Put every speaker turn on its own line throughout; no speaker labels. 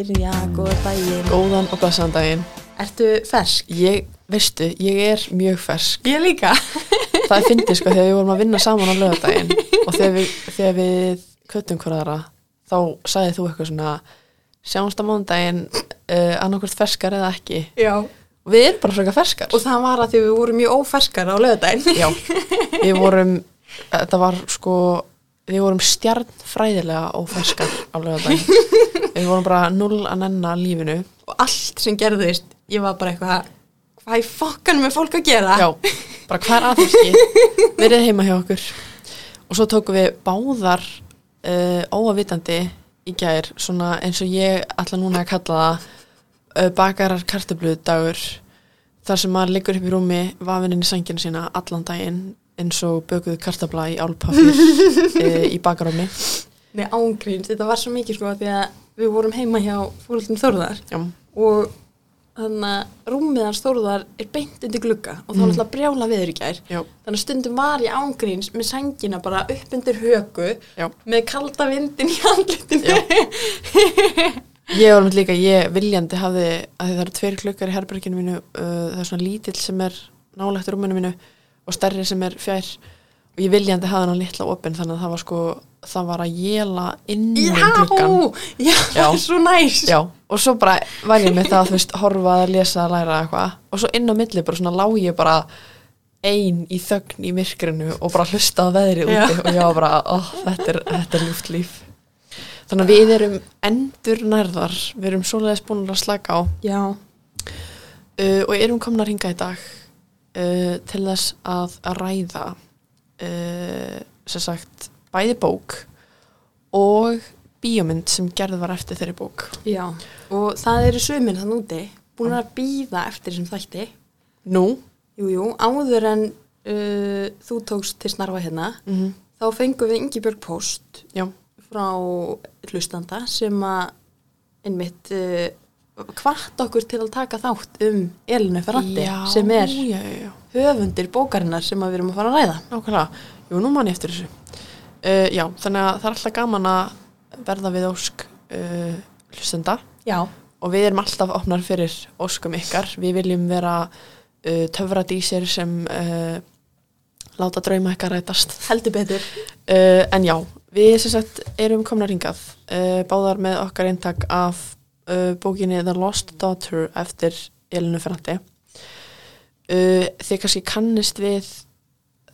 Byrja, góðan daginn.
Góðan og blessaðan daginn.
Ertu fersk?
Ég, veistu, ég er mjög fersk.
Ég líka.
Það finnir sko þegar við vorum að vinna saman á lögadaginn og þegar við, þegar við köttum hverjara þá sagði þú eitthvað svona sjáumst á mánudaginn uh, annarkvort ferskar eða ekki.
Já.
Og Við erum bara frekar ferskar.
Og það var að því við vorum mjög óferskar á löðdæn.
Já, við vorum, þetta var sko, við vorum stjarnfræðilega og ferskar á lögadaginn. Við vorum bara null að nenna lífinu.
Og allt sem gerðist, ég var bara eitthvað, hvað er fokkanum með fólk að gera?
Já, bara hvað er aðfólki verið heima hjá okkur og svo tókum við báðar uh, óavitandi í gær svona eins og ég ætla núna að kalla það uh, bakarar kartöfludagur þar sem maður liggur upp í rúmi vafininn í sanginu sína allan daginn eins og bökuðu kartabla í álpapir uh, í bakarómi
Nei, ángríns, þetta var svo mikið sko að því að við vorum heima hjá fóröldin Þórðar
Já,
og þannig að rúmið hans Þórðar er beint undir glugga og þá er alltaf brjála viður í gær.
já,
Þannig að stundum var ég ángríns með sængina bara upp undir höku
já
með kalda vindin í andlutinu.
Ég var með líka, ég viljandi hafði að það eru tveir klukkar í herberginu mínu uh, það er svona lítill sem er nálægt rúminu mínu og stærri sem er fjær og ég viljandi hafði hann litla opinn þannig að það var sko, það var að jela inn um Mm, í klukkan
Já, já,
Já.
svo næs
Já, og svo bara var ég með það að þú veist horfa að lesa að læra eitthvað og svo inn á milli bara svona lá ég bara ein í þögn í myrkrinu og bara hlusta á veðrið
Já.
úti og ég var bara, oh, þetta er, þetta er ljúft líf Þannig að við erum endur nærðar, við erum svoleiðis búin að slaka á
Já,
uh, og erum komin að ringa í dag uh, til þess að, að ræða uh, sem sagt bæði bók og bíómynd sem gerð var eftir þeirri bók
já Og það eru sömur þann úti búin að býða eftir þessum þætti
Nú,
Jú, jú, áður en uh, þú tókst til snarfa hérna
mm
þá fengum við Ingibjörg Post
já,
frá hlustanda sem að einmitt uh, hvart okkur til að taka þátt um Elinu Ferrandi
Já,
sem er
já, já, já,
höfundir bókarinnar sem að við erum að fara að ræða
nákvæmlega Jú, nú man ég eftir þessu uh, Já, þannig að það er alltaf gaman að verða við ósk uh, hlustenda
Já,
og við erum alltaf opnar fyrir óskum ykkar við viljum vera uh, töfradísir sem uh, láta drauma ykkar rætast
heldur betur
uh, en já, við sem sagt erum komnar hingað uh, báðar með okkar eintak af uh, bókinni The Lost Daughter eftir Elinu Ferrandi uh, þið kannski kannist við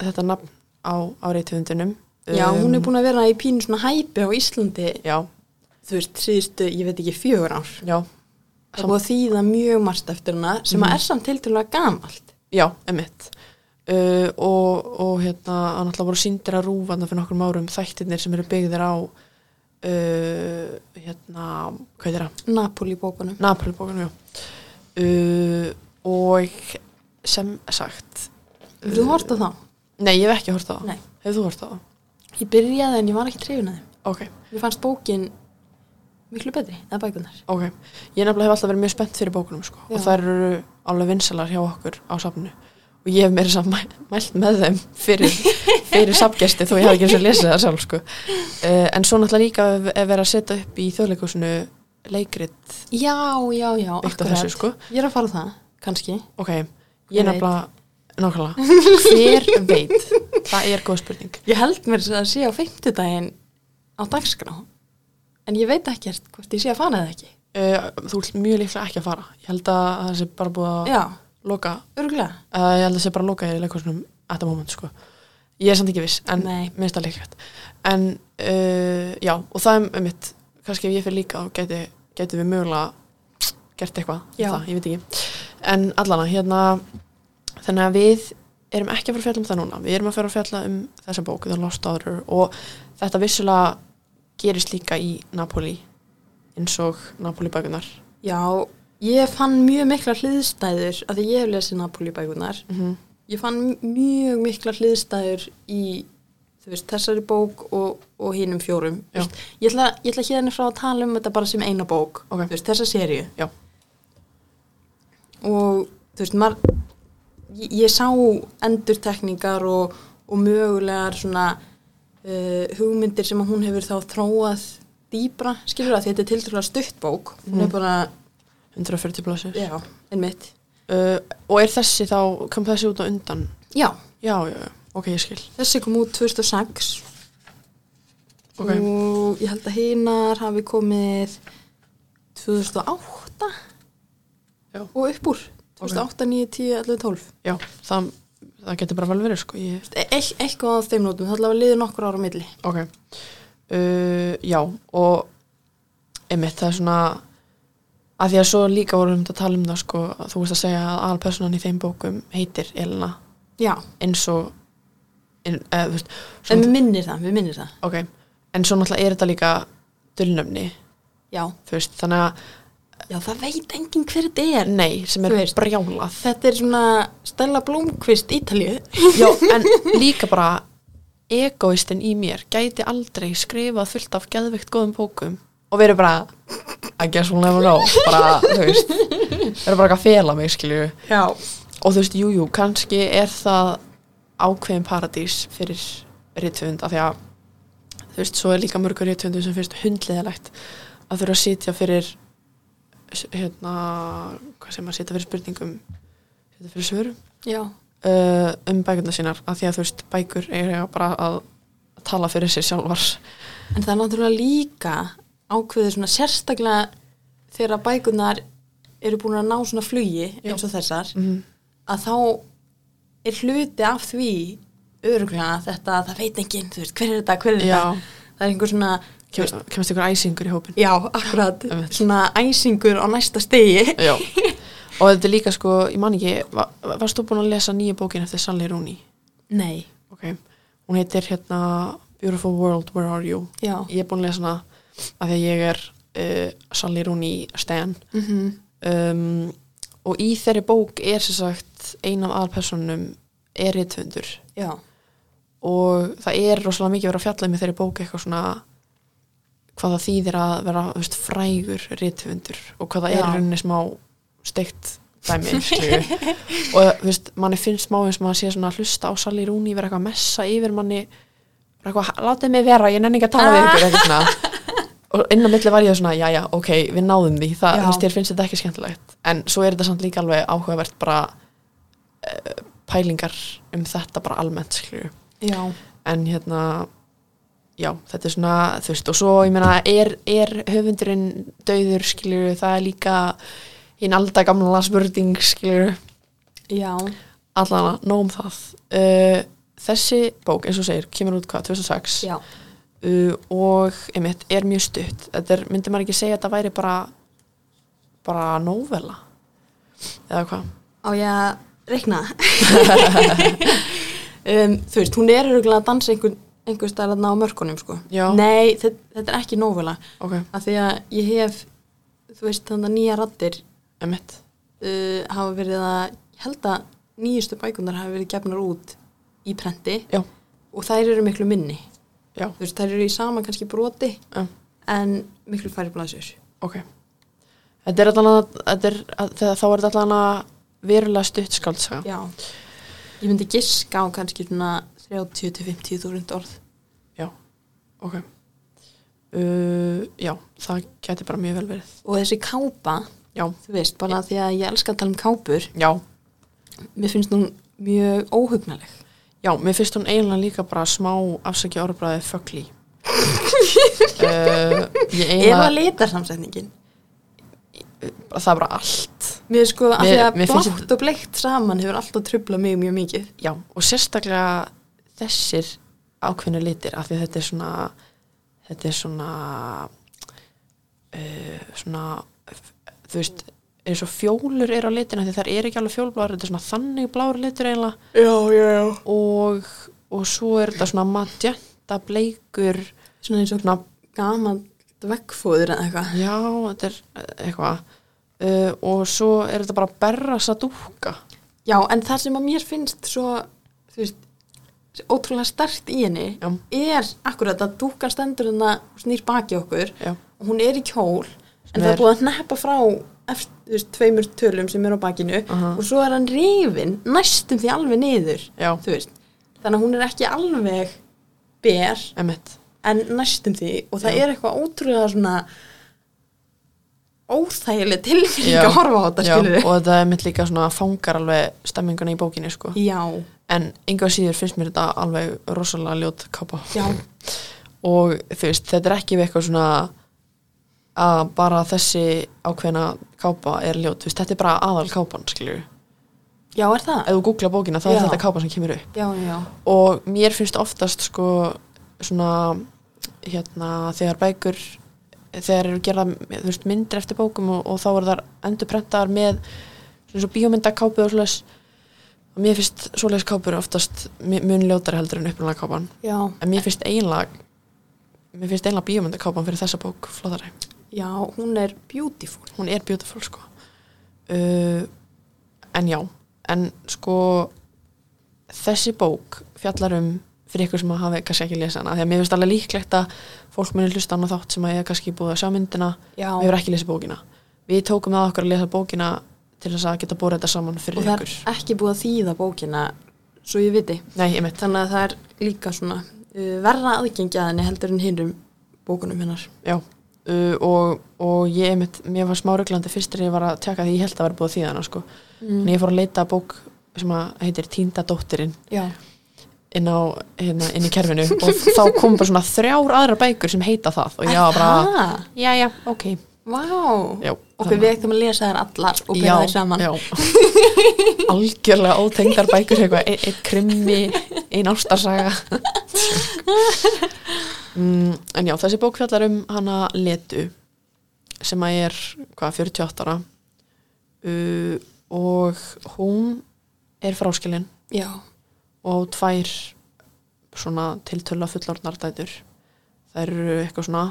þetta nafn á áriðtöfundunum
Já, hún er búin að vera í pínu svona hæpi á Íslandi
Um, já,
þú veist, síðustu, ég veit ekki, fjögur ár
já,
það er búið að þýða mjög margt eftir hana sem að er samt tiltölulega gamalt
Já, emitt. Uh, og, og hérna, hann alltaf voru síndir að rúfa þarna fyrir nokkrum árum þættirnir sem eru byggðir á uh, hérna, hvað er það?
Napoli bókunum
Napoli-bókunum, já. Uh, og sem sagt,
Hefur þú hort á þá?
nei, ég hef ekki hort á það.
Nei.
Hefur þú hort á það?
Ég byrjaði en ég var ekki trefin að þeim
Ok,
Mér fannst bókin miklu betri eða bækunar
ok. Ég nefnilega hef alltaf verið mjög spennt fyrir bókunum, sko.
Já.
Og þær eru alveg vinsalar hjá okkur á safnu. Og ég hef meira samt mæ, mælt með þeim fyrir, fyrir safgesti þó ég hef ekki eins og lesið það sjálf, sko. Uh, en svo náttúrulega líka ef, ef verið að setja upp í þjóðleikúsinu leikrit
Já, já, já,
byggt á þessu, sko.
Ég er að fara á það, kannski
Ok,
Hver
ég nefnilega, nákvæmlega, hver veit? Það er góð spurning.
Ég held mér að sé á fimmtudaginn á dagskrá en ég veit ekkert hvort ég sé að fara eða ekki
Uh, þú ert mjög líklega ekki að fara. Ég held að það sé bara búið að
Já,
loka
örgulega
Uh, ég held að það sé bara að loka í leikvöldunum at the moment, sko. Ég er samt ekki viss, en
Nei.
minnst það líklegt. En, uh, já, og það er um mitt, kannski ef ég fyrir líka, þá gæti, gæti við mögulega gert eitthvað.
Já.
Það, ég veit ekki. En allana, hérna, þannig að við erum ekki að fara að fjalla um það núna. Við erum að fara að fjalla um þessa bók, The Lost Daughter, og þetta vissulega gerist líka í Napoli, eins og Napoli bækunar.
Já, ég fann mjög mikla hliðstæður af því ég hef lesið Napoli bækunar
Mm -hmm.
ég fann mjög mikla hliðstæður í þú veist, þessari bók og, og hinum fjórum Þú
Já.
veist, ég ætla, ég ætla hérna frá að tala um þetta bara sem eina bók
Ok.
þú veist, þessa seríu
Já.
og þú veist, maður ég, ég sá endurtekningar og, og mögulegar svona uh, hugmyndir sem að hún hefur þá þróað dýbra, skilur það því þetta er tiltrúlega stutt bók, hún er
Mm.
bara
140 blásir
já, einmitt
uh, og er þessi þá, kom þessi út á undan
já,
já, já, já, ok, ég skil
þessi kom út 2006
ok,
og ég held að hinar hafi komið 2008
Já.
og upp úr 2008, 9, 10, 11, 12
já, það, það getur bara vel verið sko, ég,
E- Eit, eitthvað á þeim nótum, það allavega liður nokkur ára á milli
ok uh, já, og einmitt, það er svona að því að svo líka vorum við að tala um það sko, að þú veist að segja að alpersonan í þeim bókum heitir Elna
já,
eins og en, eða, þú veist,
en við
svona,
minnir það, við minnir það
ok, en svo náttúrulega er þetta líka dulnöfni,
já,
þú veist, þannig að
já, það veit enginn hver þetta er
nei, sem er
Þú veist.
brjálað
þetta er svona Stella Blomqvist Ítalíu
Já, en líka bara egoistin í mér gæti aldrei skrifað fullt af geðveikt góðum bókum og verið bara I guess we'll never know bara, þú veist, verið bara eitthvað að fela mig skilju
já,
og þú veist, jújú, jú, kannski er það ákveðin paradís fyrir rithöfund af því að þú veist, svo er líka mörgur rithöfundu sem finnst hundleðilegt að þurfa að sitja fyrir s- hérna, hvað sem að sitja fyrir spurningum sitja fyrir svörum
já,
uh, um bækurna sínar af því að þú veist, bækur eru bara að tala fyrir sér sjálfar
En það er náttúrulega líka ákveðið svona sérstaklega þegar bækunar eru búin að ná svona flugi eins og þessar
mm.
að þá er hluti af því öruglega þetta það veit enginn, þú veist, hver er þetta, hver er
Já.
þetta það er einhver svona,
Kem, kemst ykkur æsingur í hópin
já, akkurat
Einmitt.
svona æsingur á næsta stegi
Já. og þetta er líka sko, ég man ekki va- va- varst þú búin að lesa nýja bókin eftir Sally Rooney
Nei,
ok, hún heitir hérna Beautiful World, Where Are You
já
ég er búin að lesa hana af því að ég er uh, Sally Rooney Stan
mm
um, og í þeirri bók er sem sagt ein af aðalpersonum er rithundur
Já,
og það er rosalega mikið verið að fjalla með þeirri bók eitthvað svona hvað það þýðir að vera þú veist, frægur rithöfundur og hvað það
Já.
er í rauninni smá steikt dæmi skilju. og þú veist, manni finnst smá eins og maður sé svona að hlusta á Sally Rooney vera eitthvað að messa yfir manni bara eitthvað, látið mig vera, ég nenni ekki að tala við ykkur eitthvað svona og inn á milli var ég svona, já já, ok, við náðum því það,
Já.
þú veist, þér finnst þetta ekki skemmtilegt en svo er þetta samt líka alveg áhugavert bara uh, pælingar um þetta bara almennt skilju
já,
en hérna já, þetta er svona, þú veist, og svo ég meina, er, er höfundurinn döður, skilur, það er líka hinn alda gamla spurning, skilur
já
allana, nóg um það uh, þessi bók, eins og þú segir, kemur út hvað, 2006
Já,
uh, og, einmitt, er mjög stutt þetta er, myndi maður ekki segja að það væri bara bara nóvela eða hvað
á ég að reikna um, Þú veist, hún er öruglega að dansa einhver, einhver stær að ná mörkunum sko
já,
Nei, þetta, þetta er ekki nóvula
ok,
af því að ég hef þú veist þannig að nýja rattir
einmitt
uh, hafa verið að ég held að nýjustu bækunar hafa verið gefnar út í prenti
já,
og þær eru miklu minni
já,
þú veist, þær eru í sama kannski broti
um
en miklu færi blæsjur
Ok. Þetta er allan að, þetta er, að, þegar- þá er þetta allan að verulega stutt skaldsaga.
Já, ég myndi giska á kannski svona 30-50 þúrund orð
Já. Ok. Uh, já, það geti bara mjög vel verið.
og þessi kápa,
Já.
þú veist, bara því að ég elska að tala um kápur
Já.
mér finnst hún mjög óhugnaleg
Já, mér finnst hún eiginlega líka bara smá afsækja orðbræðið fögli. uh, ég
Ef að
eiginlega,
lita samsetningin
það er bara allt.
Mér sko, af
Mér-
því að
mér finnst
blátt og bleikt saman hefur alltaf trubla mig mjög mikið.
Já, og sérstaklega þessir ákveðnu litir af því að þetta er svona þetta er svona uh, svona þú veist, eins og fjólur er á litina því þar er ekki alveg fjólbláður þetta er svona þannig bláður litur eiginlega
Já, já, já.
og, og svo er þetta svona magenta bleikur
Svona eins og
svona,
gaman vekkfóður eða eitthvað.
já, þetta er eh, eitthvað uh, og svo er þetta bara berrasa dúka
Já, en það sem að mér finnst svo, þú veist, ótrúlega stert í henni
Já.
er akkurat að dúkan stendur hérna og snýr baki okkur
já,
og hún er í kjól en
Sem
það
er-
er búið að neppa frá eftir, þú veist, tveimur tölum sem er á bakinu
Aha.
og svo er hann rifin næstum því alveg niður,
já,
þú veist. Þannig að hún er ekki alveg ber
emitt
en næstum því og það
Já.
er eitthvað ótrúlega svona óþægileg tilfinning að horfa á þetta
Já,
skilur
og þetta er mitt líka svona fangar alveg stemminguna í bókinni sko
já,
en enga síður finnst mér þetta alveg rosalega ljót kappa
já,
og þú veist, þetta er ekki við eitthvað svona að bara þessi ákveðna kápa er ljót, þú veist, þetta er bara aðal kápan skilur,
já er það
ef þú googla bókina þá
Já.
er þetta kápa sem kemur upp
já, já,
og mér finnst oftast sko svona hérna þegar bækur þegar eru gerða þú veist, myndir eftir bókum og, og þá eru þar endurprentaðar með svona svo bíómyndakápu og svoleiðis og mér finnst svoleiðis kápur oftast mi- mun ljótari heldur en upprunalega kápan
já
en mér finnst eiginlega mér finnst eiginlega bíómyndakápan fyrir þessa bók flóðari
já, hún er beautiful
hún er beautiful sko uh, en já en sko þessi bók fjallar um fyrir ykkur sem að hafi kannski ekki lesa hana því að mér finnst alveg líklegt að fólk muni hlusta á hana þátt sem að ég hef kannski búið að sjá myndina
já,
og hefur ekki lesið bókina við tókum að okkur að lesa bókina til þess að geta búið þetta saman
og
fyrir
það er
ykkur
ekki búið að þýða bókina svo ég viti
nei, ég mitt,
þannig að það er líka svona uh, verra aðgengi að henni heldur en hinnum bókunum hennar
já uh, og, og ég mitt, mér var smá röglandi fyrst þegar ég var að tjaka því ég held að vera búið að þýða hana sko, en
Mm.
ég fór að leita að bók sem að heitir Týnda dóttirinn
já,
inn á, hérna, inn í kerfinu og þá kom bara svona þrjár aðrar bækur sem heita það og ég var bara,
það?
já, já, ok
Vá,
Já,
ok,
þannig.
við ættum að lesa þær allar og byrja þær saman
já. algjörlega ótengdar bækur eitthvað, ein, ein krimmi, ein ástarsaga mm, en já, þessi bók fjallar um hana Letu sem að er, hvað, 48 ára uh, og hún er fráskilin
Já,
og á tvær svona tiltöla fullorðnar dætur það eru eitthvað svona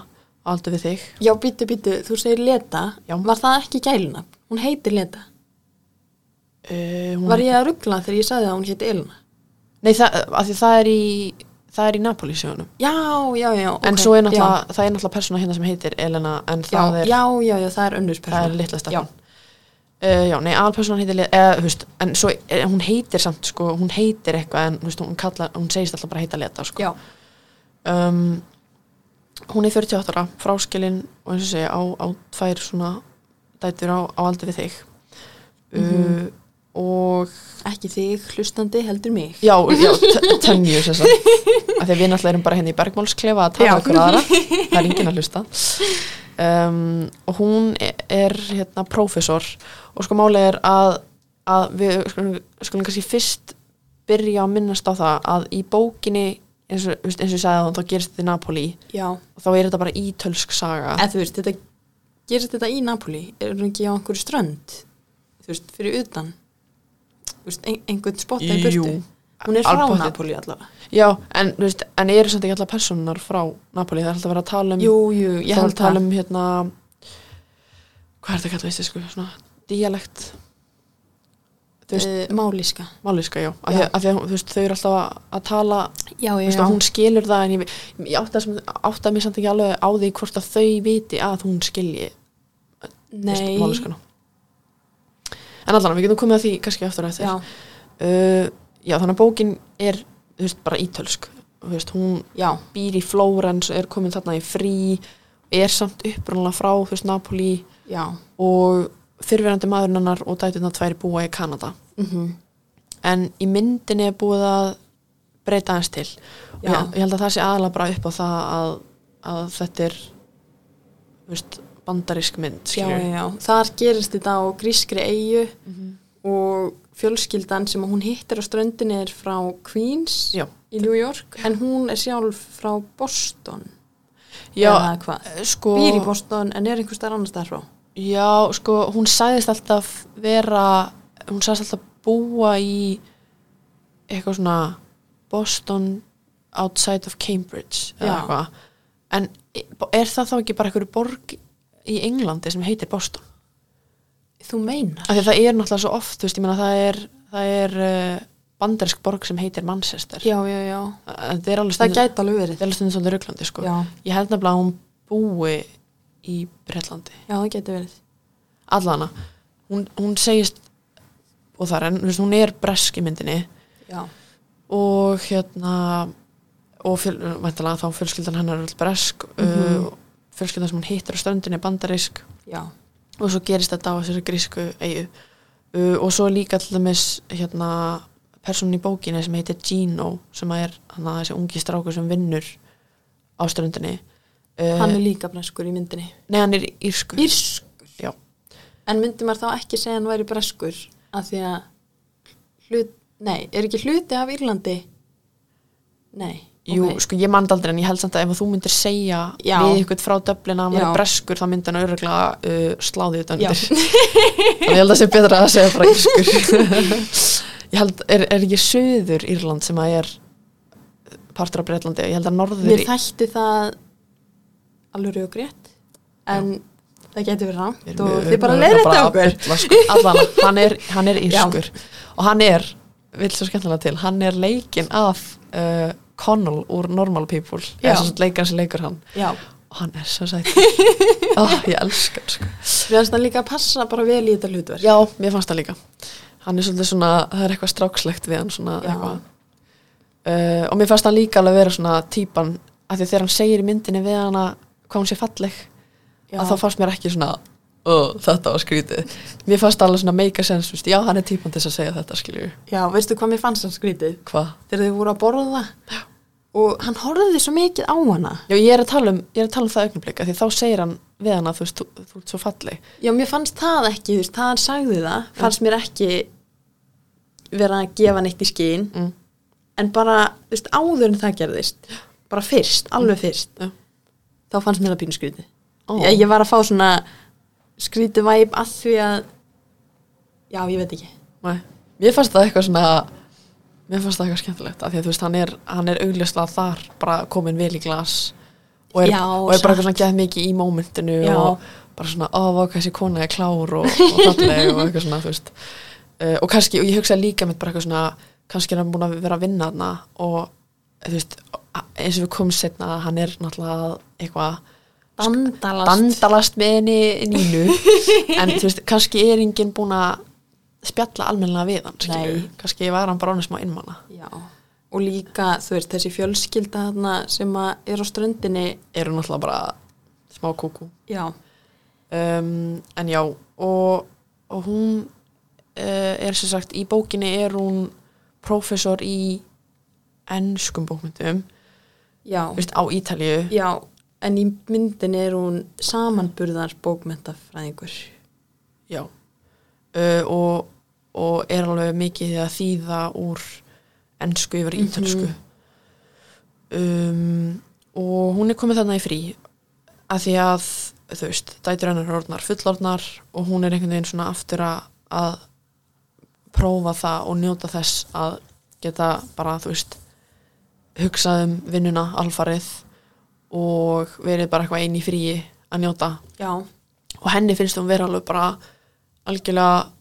aldur við þig
já, býttu, býttu, þú segir Leta
Já.
Var það ekki gæluna? Hún heitir Leta
uh, hún,
Var ég að ruggla þegar ég sagði að hún héti Elna?
nei, það, af því það er í það er í Napoli sögunum
Já, já, já, ok
en svo er náttúrulega, það er náttúrulega persóna hérna sem heitir Elena en
Já,
það
já,
er,
já, já, já, það er önnur
það er
persóna
litla stefan Uh, já, nei, aðalpersonan heitir Leta, eða, þú veist, en svo, eh, hún heitir samt, sko, hún heitir eitthvað, en, þú veist, hún kallar, hún segist alltaf bara heita Leta, sko.
Já,
um, hún er 48 ára fráskilin og eins og segja á, á tvær svona dætur á, á aldur við þig uh, og
ekki þig, hlustandi, heldur mig
já, já t- tönju sem sagt af því að við náttúrulega erum bara henni í bergmálsklefa að
Já.
tala okkur aðra, það er enginn að hlusta um, og hún er, er hérna prófessor og sko málið er að, að við skulum, skulum kannski fyrst byrja að minnast á það að í bókinni eins og, þú veist, eins og ég sagði að þá gerist þetta í Napoli
Já,
og þá er þetta bara ítölsk saga
en þú veist, þetta gerist þetta í Napoli Er hún ekki á einhverju strönd? Þú veist, fyrir utan Þú veist, ein, einhvern spotta í burtu
Jú.
Hún er frá
Alpottið.
Napoli allavega
já, en, þú veist, en eru samt ekki allar personar frá Napoli, það er alltaf að vera að tala um
Jú, jú, ég
það er
held
að tala um hérna hvað er þetta að kalla veist svona dialekt þú veist,
uh, Málíska
máliska, já, af
já.
því að, af því að þú veist, þau eru alltaf að, að tala
Já,
þú veist, að hún skilur það en ég, ve- ég átta, sem, átta mér samt ekki alveg á því hvort að þau viti að hún skilji
Nei,
máliskana en allan, við getum komið að því kannski aftur á eftir
já,
uh, já þannig að bókin er þú veist, bara ítölsk Þú veist, hún
já,
býr í Flórens og er komin þarna í frí er samt upprunalega frá þú veist, Napoli
já
og fyrverandi maðurinn hennar og dætuna tvær búa í Kanada
mm
en í myndinni er búið að breyta aðeins til og
Já.
ég, ég held að það sé aðalega bara upp á það að, að þetta er þú veist, bandarísk mynd
já,
skilurðu.
já, já, þar gerist þetta á grískri eigu Mhm. og fjölskyldan sem að hún hittir á ströndinni er frá Queens
Já.
í New York en hún er sjálf frá Boston
já,
eða hvað
sko
býr í Boston en er einhvers þar annars þar frá
Já, sko, hún sagðist alltaf vera, hún sagðist alltaf búa í eitthvað svona Boston outside of Cambridge eða
Já.
eitthvað en er það þá ekki bara eitthvað borg í Englandi sem heitir Boston?
Þú meinar?
Af því að það er náttúrulega svo oft, þú veist, ég meina það er, það er uh, bandersk borg sem heitir Manchester
Já, já, já,
Það er alveg
það
stundum,
gæti alveg verið
það er alveg stundum svolítið rauglandi, sko
Já,
Ég held nefnilega að hún búi í Bretlandi
já, það gæti verið
allana hún, hún segist og þar en þú veist, hún er bresk í myndinni
Já,
og hérna og fjöl, væntalega þá fjölskyldan hennar er öll bresk
Mhm.
uh, fjölskyldan sem hann hittir á ströndinni er bandarisk
já,
og svo gerist þetta á þessari grísku eigu uh, og svo líka til dæmis hérna personin í bókinni sem heitir Gino sem að er hann að þessi ungi strákur sem vinnur á ströndinni uh,
hann er líka breskur í myndinni
nei hann er írsku
Írskur?
Já.
En myndi maður þá ekki segja hann væri breskur af því að hlut, nei, er ekki hluti af Írlandi? Nei.
Jú,
ok.
sko ég mand aldrei en ég held samt að ef þú myndir segja
Já.
við ykkur frá Dublin að hann
Já.
væri breskur þá myndi hann öruglega uh, sláði þetta
Já.
undir þannig ég held að það sé betra að segja frá írskur ég held, er, er ekki söður Írland sem að er partur af Breitlandi, ég held að norður
Mér þætti það alveg og grétt en það getur verið rámt og þið bara leiðir þetta okkur.
sko. Allan, hann er, hann er írskur og hann er, vil svo skemmtilega til hann er leikinn af uh, Connell úr Normal People
Já.
eða sem leikar sem leikur hann
Já,
og hann er svo sætt oh, ég elska hann sko.
við erum þannig líka að passa bara vel í þetta hlutverk.
já, mér fannst það líka hann er svolítið svona, það er eitthvað strákslegt við hann svona
Já.
eitthvað uh, og mér fannst hann líka alveg vera svona típan af því að þegar hann segir í myndinni við hann hvað hún sé falleg að þá fannst mér ekki svona oh, þetta var skrítið mér fannst alveg svona make a sense, veist, já hann er típan til þess að segja þetta skilju,
Já, veistu hvað mér fannst hann skrítið?
hvað
Þegar þau voru að borða og hann horfði svo mikið á hana.
já, ég er að tala um, ég er að tala um það augnablik af því þá segir hann við hann að þú veist, þú, þú ert svo falleg
Já, mér fannst það ekki, þú veist, það hann sagði það, fannst mér ekki vera að gefa neitt í skín,
Mm.
en bara, þú veist, áður en það gerðist, bara fyrst, alveg fyrst,
Mm. Já.
þá fannst mér það pínu skrítið.
Ó.
Ég, ég var að fá svona skrítið væp að því að, já, ég veit ekki.
Nei. Mér fannst það eitthvað svona mér fannst það eitthvað skemmtilegt af því að þú veist, hann er, hann er augljóslega þar bara komin vel í glas og er,
Já,
og er bara
satt.
eitthvað svona gett mikið í mómentinu
Já.
og bara svona, ó, vá, hvað þessi kona er klár og, og falleg og eitthvað svona, þú veist uh, og kannski, og ég hugsaði líka mitt bara eitthvað svona, kannski er hann búin að vera að vinna þarna og, þú veist a- eins og við komum setna, hann er náttúrulega að eitthvað
Dandalast.
dandalast með henni nínu en þú veist, kannski er enginn búin að spjalla almennilega við hann skilur.
Nei.
kannski var hann bara ánum smá innmanna
Já, og líka, þú veist, þessi fjölskylda þarna sem að er á ströndinni,
eru náttúrulega bara smá kúkú
já,
um, en já, og, og hún uh, er sem sagt í bókinni er hún prófessor í ennskum bókmyndum
já.
þú veist, á Ítalíu
Já, en í myndinni er hún samanburðar bókmentafræðingur.
Já uh, og, og er alveg mikið í að þýða úr ennsku yfir ítalsku um, og hún er komið þarna í frí að því að þú veist, dætur hennar eru orðnar fullorðnar og hún er einhvern veginn svona aftur að, að prófa það og njóta þess að geta bara, þú veist hugsað um vinnuna alfarið og verið bara eitthvað einn í fríi að njóta
Já,
og henni finnst hún vera alveg bara algjörlega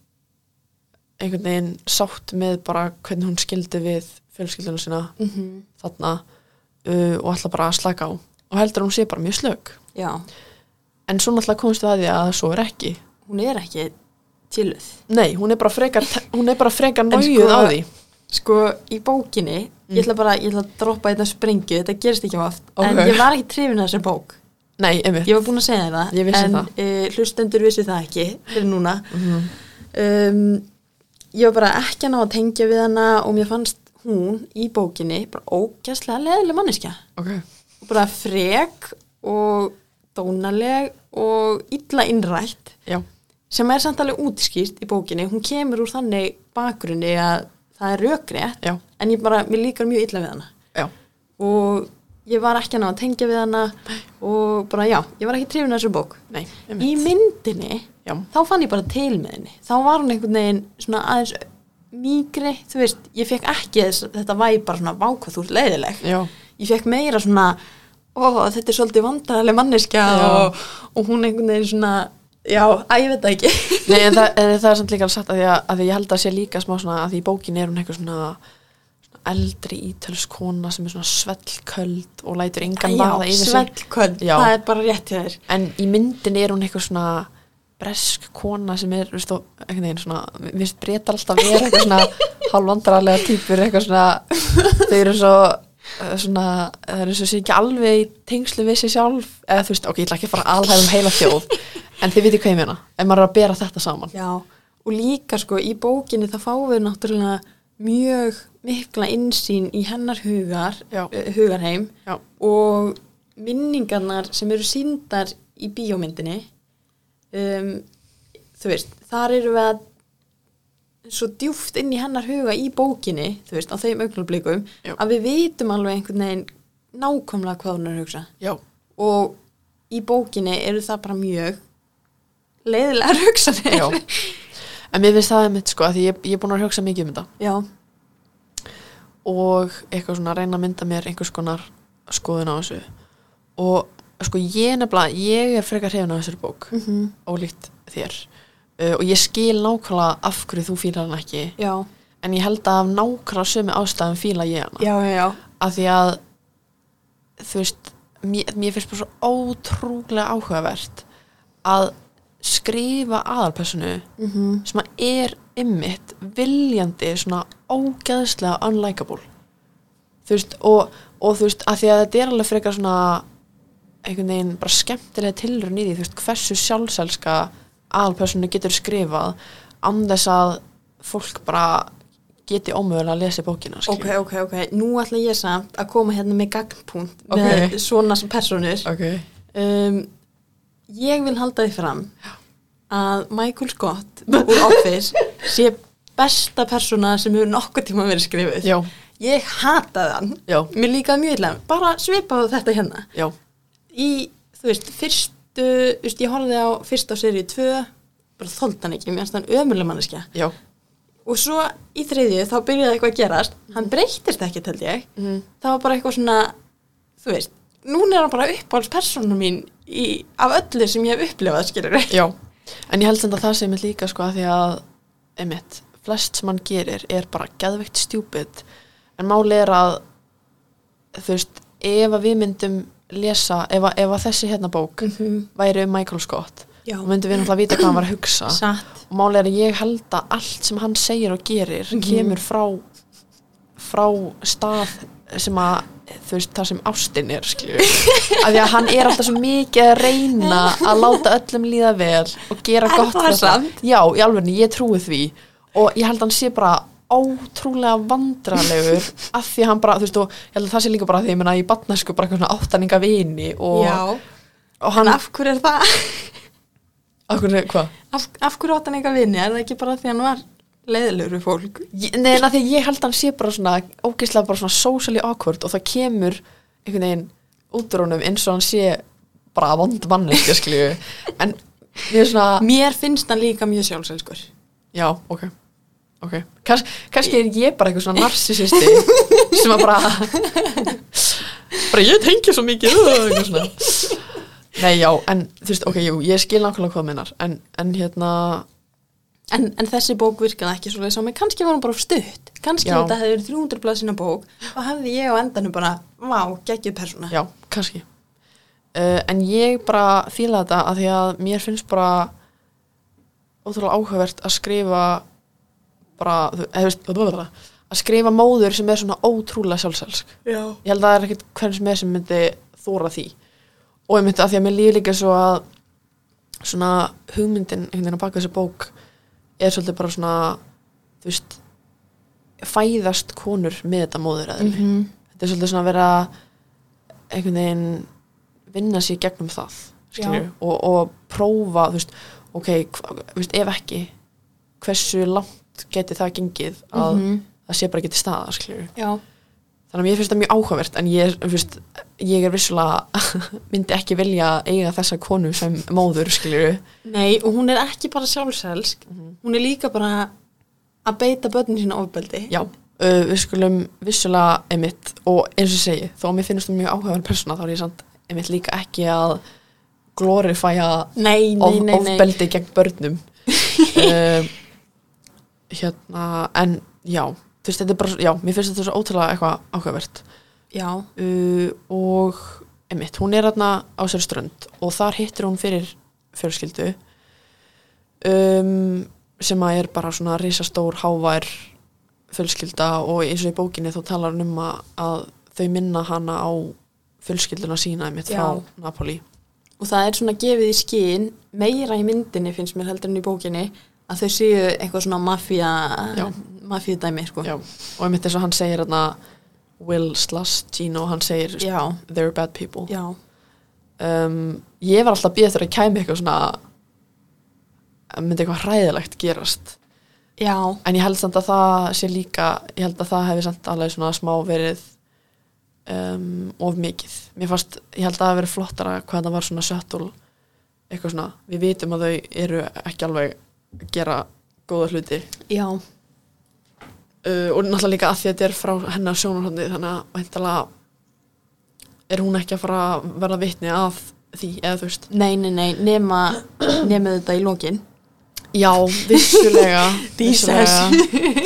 einhvern veginn sátt með bara hvernig hún skildi við fjölskyldunum sína
mm
þarna uh, og ætla bara að slaka á og heldur að hún sé bara mjög slög
já,
en svo náttúrulega komist við að því að svo er ekki
hún er ekki tiluð.
nei, hún er bara frekar hún er bara frekar
En
nájuð
sko-
á því
Sko, í bókinni, ég ætla bara, ég ætla að droppa þetta sprengju, þetta gerist ekki oft, en
Ókei.
ég var ekki trefin að þessari bók.
nei, einmitt,
Ég var búin að segja þér það, Mhm.
Ég vissi
en
það.
eh, hlustendur vissi það ekki fyrir núna. um, ég var bara ekki að ná að tengja við hana og mér fannst hún í bókinni bara ógæslega leðileg manneskja.
ok
og bara frek og dónaleg og illa innrætt
já,
sem er samt alveg útskýrt í bókinni hún kemur úr þannig bakgrunni að það er rökrétt
já,
en ég bara, mér líkar mjög illa við hana
já
og ég var ekki að ná að tengja við hana og bara já, ég var ekki trefin að þessu bók
nei,
í
einmitt,
myndinni
já,
þá fann ég bara til með henni þá var hún einhvern veginn svona aðeins mýgri, þú veist, ég fekk ekki þess, þetta væri bara svona vákvað þú ert leiðileg
já,
ég fekk meira svona ó, þetta er svolítið vandrarleg manneskja
Já.
og, og hún einhvern veginn svona já, að ég veit það ekki
Nei, en það, en það er samt líka alveg satt að því að, að því ég held að sé líka smá svona að því í bókinni er hún eitthvað svona, svona eldri ítölskona sem er svona svellköld og lætur engan vaða
já,
yfir sig.
svellköld,
Já.
það er bara rétt hjá þér
En í myndinni er hún eitthvað svona bresk kona sem er, veist þú, einhvern veginn svona, mér finnst breytar alltaf vera eitthvað svona hálfandrarlega týpur, eitthvað svona, þau eru svo eh, svona, það er eins og sé ekki alveg í tengslu við sig sjálf eða þú veist, ok, ég ætla ekki að fara alhæðum heila þjóð en þið viti hvað ég meina, ef maður er að bera þetta saman
Já, og líka sko í bókinni það fáum við náttúrulega mjög mikla innsýn í hennar hugar,
Já.
eh, hugarheim
Já.
og minningarnar sem eru síndar í bíómyndinni um, þú veist, þar eru við að svo djúft inn í hennar huga í bókinni, þú veist, á þeim augnablikum
Já.
að við vitum alveg einhvern veginn nákvæmlega hvað hún er að hugsa
Já,
og í bókinni eru það bara mjög leiðilegar hugsanir
Já. en mér finnst það einmitt sko, að því ég, ég er búin að hugsa mikið um þetta
Já,
og eitthvað svona að reyna að mynda mér einhvers konar skoðun á þessu og sko ég nefnilega ég er frekar hefna á þessari bók
Mhm.
ólíkt þér uh, og ég skil nákvæmlega af hverju þú fílar hann ekki
já,
en ég held að af nákvæmlega sömu ástæðum fíla ég hana
já, já, já,
af því að þú veist, mér, mér finnst bara svo ótrúlega áhugavert að skrifa aðalpersonu
Mhm.
sem að er ymmit viljandi svona ógeðslega unlikable þú veist, og, og þú veist, af því að þetta er alveg frekar svona einhvern veginn bara skemmtilega tilrun í því, þú veist, hversu sjálfselska aðalpersonu getur skrifað án þess að fólk bara geti ómögulega að lesa bókina
ok,
skilur.
ok, ok, nú ætla ég samt að koma hérna með gagnpunkt
Ok.
með svona sem personur
okay.
um, Ég vil halda því fram að Michael Scott úr Office sé besta persona sem hefur nokkuð tíma verið skrifuð
Já,
Ég hataði hann,
Já.
mér líkaði mjög illa bara svipaðu þetta hérna
já,
í, þú veist, fyrstu þú veist, ég horfði á fyrst á serið 2 bara þoldi hann ekki, mér finnst hann ömuleg manneskja
já,
og svo í þriðju þá byrjaði eitthvað að gerast hann breytist ekkert held ég
Mhm.
það var bara eitthvað svona þú veist, núna er hann bara uppáhaldspersonu mín í, af öllu sem ég hef upplifað skilur við
já. En ég held sem það það sem er líka sko að því að, einmitt, flest sem hann gerir er bara geðveikt stjúpid. En máli er að, þú veist, ef að við myndum lesa, ef að, ef að þessi hérna bók væri um Michael Scott,
Mhm. Já.
og myndum við náttúrulega vita hvað hann var að hugsa.
satt,
Og máli er að ég held að allt sem hann segir og gerir
Mhm.
kemur frá, frá stað sem að, þú veist, það sem ástin er, skilju. Af því að hann er alltaf svo mikið að reyna að láta öllum líða vel og gera
Er
gott
það
fyrir alla.
samt?
Já, í alvegni, ég trúi því. Og ég held að hann sé bara ótrúlega vandralegur af því að hann bara, þú veist, og ég held að það sé líka bara því, ég meina, í batnasku bara eitthvað svona áttaninga vini og,
já
og
en
hann,
af hverju er það
okkur, hvað?
af, af hverju átt hann eitthvað vinni, er það ekki bara því hann var leiðilegur við fólk
Ég- Nei, en að því að ég held að hann sé bara svona ógeðslega bara svona socially awkward og það kemur einhvern veginn út úr honum eins og hann sé bara vond manneskja, skilju en ég er svona,
mér finnst hann líka mjög sjálfselskur
já, ok ok, Kans, kannski er ég bara eitthvað svona narcissisti sem að bara bara ég tengi svo mikið og eitthvað svona Nei, já, en þú veist, ok, jú, ég skil nákvæmlega hvað þú meinar en, en hérna,
En, en þessi bók virkaði ekki svoleiðis á mig, kannski var hún bara of stutt, kannski
Já.
þetta hefði verið 300 blaðsina bók og hefði ég á endanum bara, vá, geggjuð persóna.
Hérna. Já, kannski uh, En ég bara fíla þetta að því að mér finnst bara ótrúlega áhugavert að skrifa bara, þú eða, veist, þú veist það að skrifa móður sem er svona ótrúlega sjálfselsk
Já.
Ég held að það er ekkert hvern sem er sem myndi þóra því og ég myndi að því að mér líf líka svo að svona hugmyndin einhvern veginn að baka þessi bók er svolítið bara svona þú veist fæðast konur með þetta móður aðeins
Mhm.
þetta er svolítið svona að vera einhvern veginn vinna sér gegnum það skilur, og, og prófa þú veist, ok, hva, þú veist, ef ekki hversu langt geti það gengið að
Mhm.
það sé bara geti staða skilur.
Já,
þannig að mér finnst það mjög áhugavert en ég, er, þú veist, ég er vissulega myndi ekki vilja eiga þessa konu sem móður skilur.
nei, og hún er ekki bara sjálfselsk,
Mhm.
hún er líka bara að beita börnin sína ofbeldi.
já, uh, við skulum vissulega emitt og eins og ég segi þó að mér finnst það mjög áhugaverð persóna þá er ég samt emitt líka ekki að glorifæja
Nei, nei,
of,
nei, nei.
ofbeldi gegn börnum um, hérna en já, þú veist þetta er bara já, mér finnst þetta svo ótrúlega eitthvað áhugavert
Já,
uh, og emitt, hún er þarna á sér strönd og þar hittir hún fyrir fjölskyldu um, sem að er bara svona risastór hávær fjölskylda og eins og í bókinni þá talar hún um að, að þau minna hana á fjölskylduna sína einmitt frá
Já.
Napoli
og það er svona gefið í skín meira í myndinni finnst mér heldur en í bókinni að þau séu eitthvað svona mafía
Já.
mafíudæmi sko
Já, og einmitt þess að hann segir hann Will slash Gino, hann segir
já,
they're bad people
já.
um, Ég var alltaf að býða þegar að kæmi eitthvað svona að myndi eitthvað hræðilegt gerast
já.
en ég held samt að það sé líka ég held að það hefði samt alveg svona smá verið um, of mikið mér fannst, ég held að það hafi verið flottara hvað það var svona sötul eitthvað svona, við vitum að þau eru ekki alveg að gera góða hluti
já.
uh, og náttúrulega líka að því að þetta er frá hennar sjónarhóndi þannig að væntalega er hún ekki að fara að verða vitni af því eða þú veist
nei, nei, nei, nema nema þetta í lókin
já, vissulega
Jesus.
vissulega.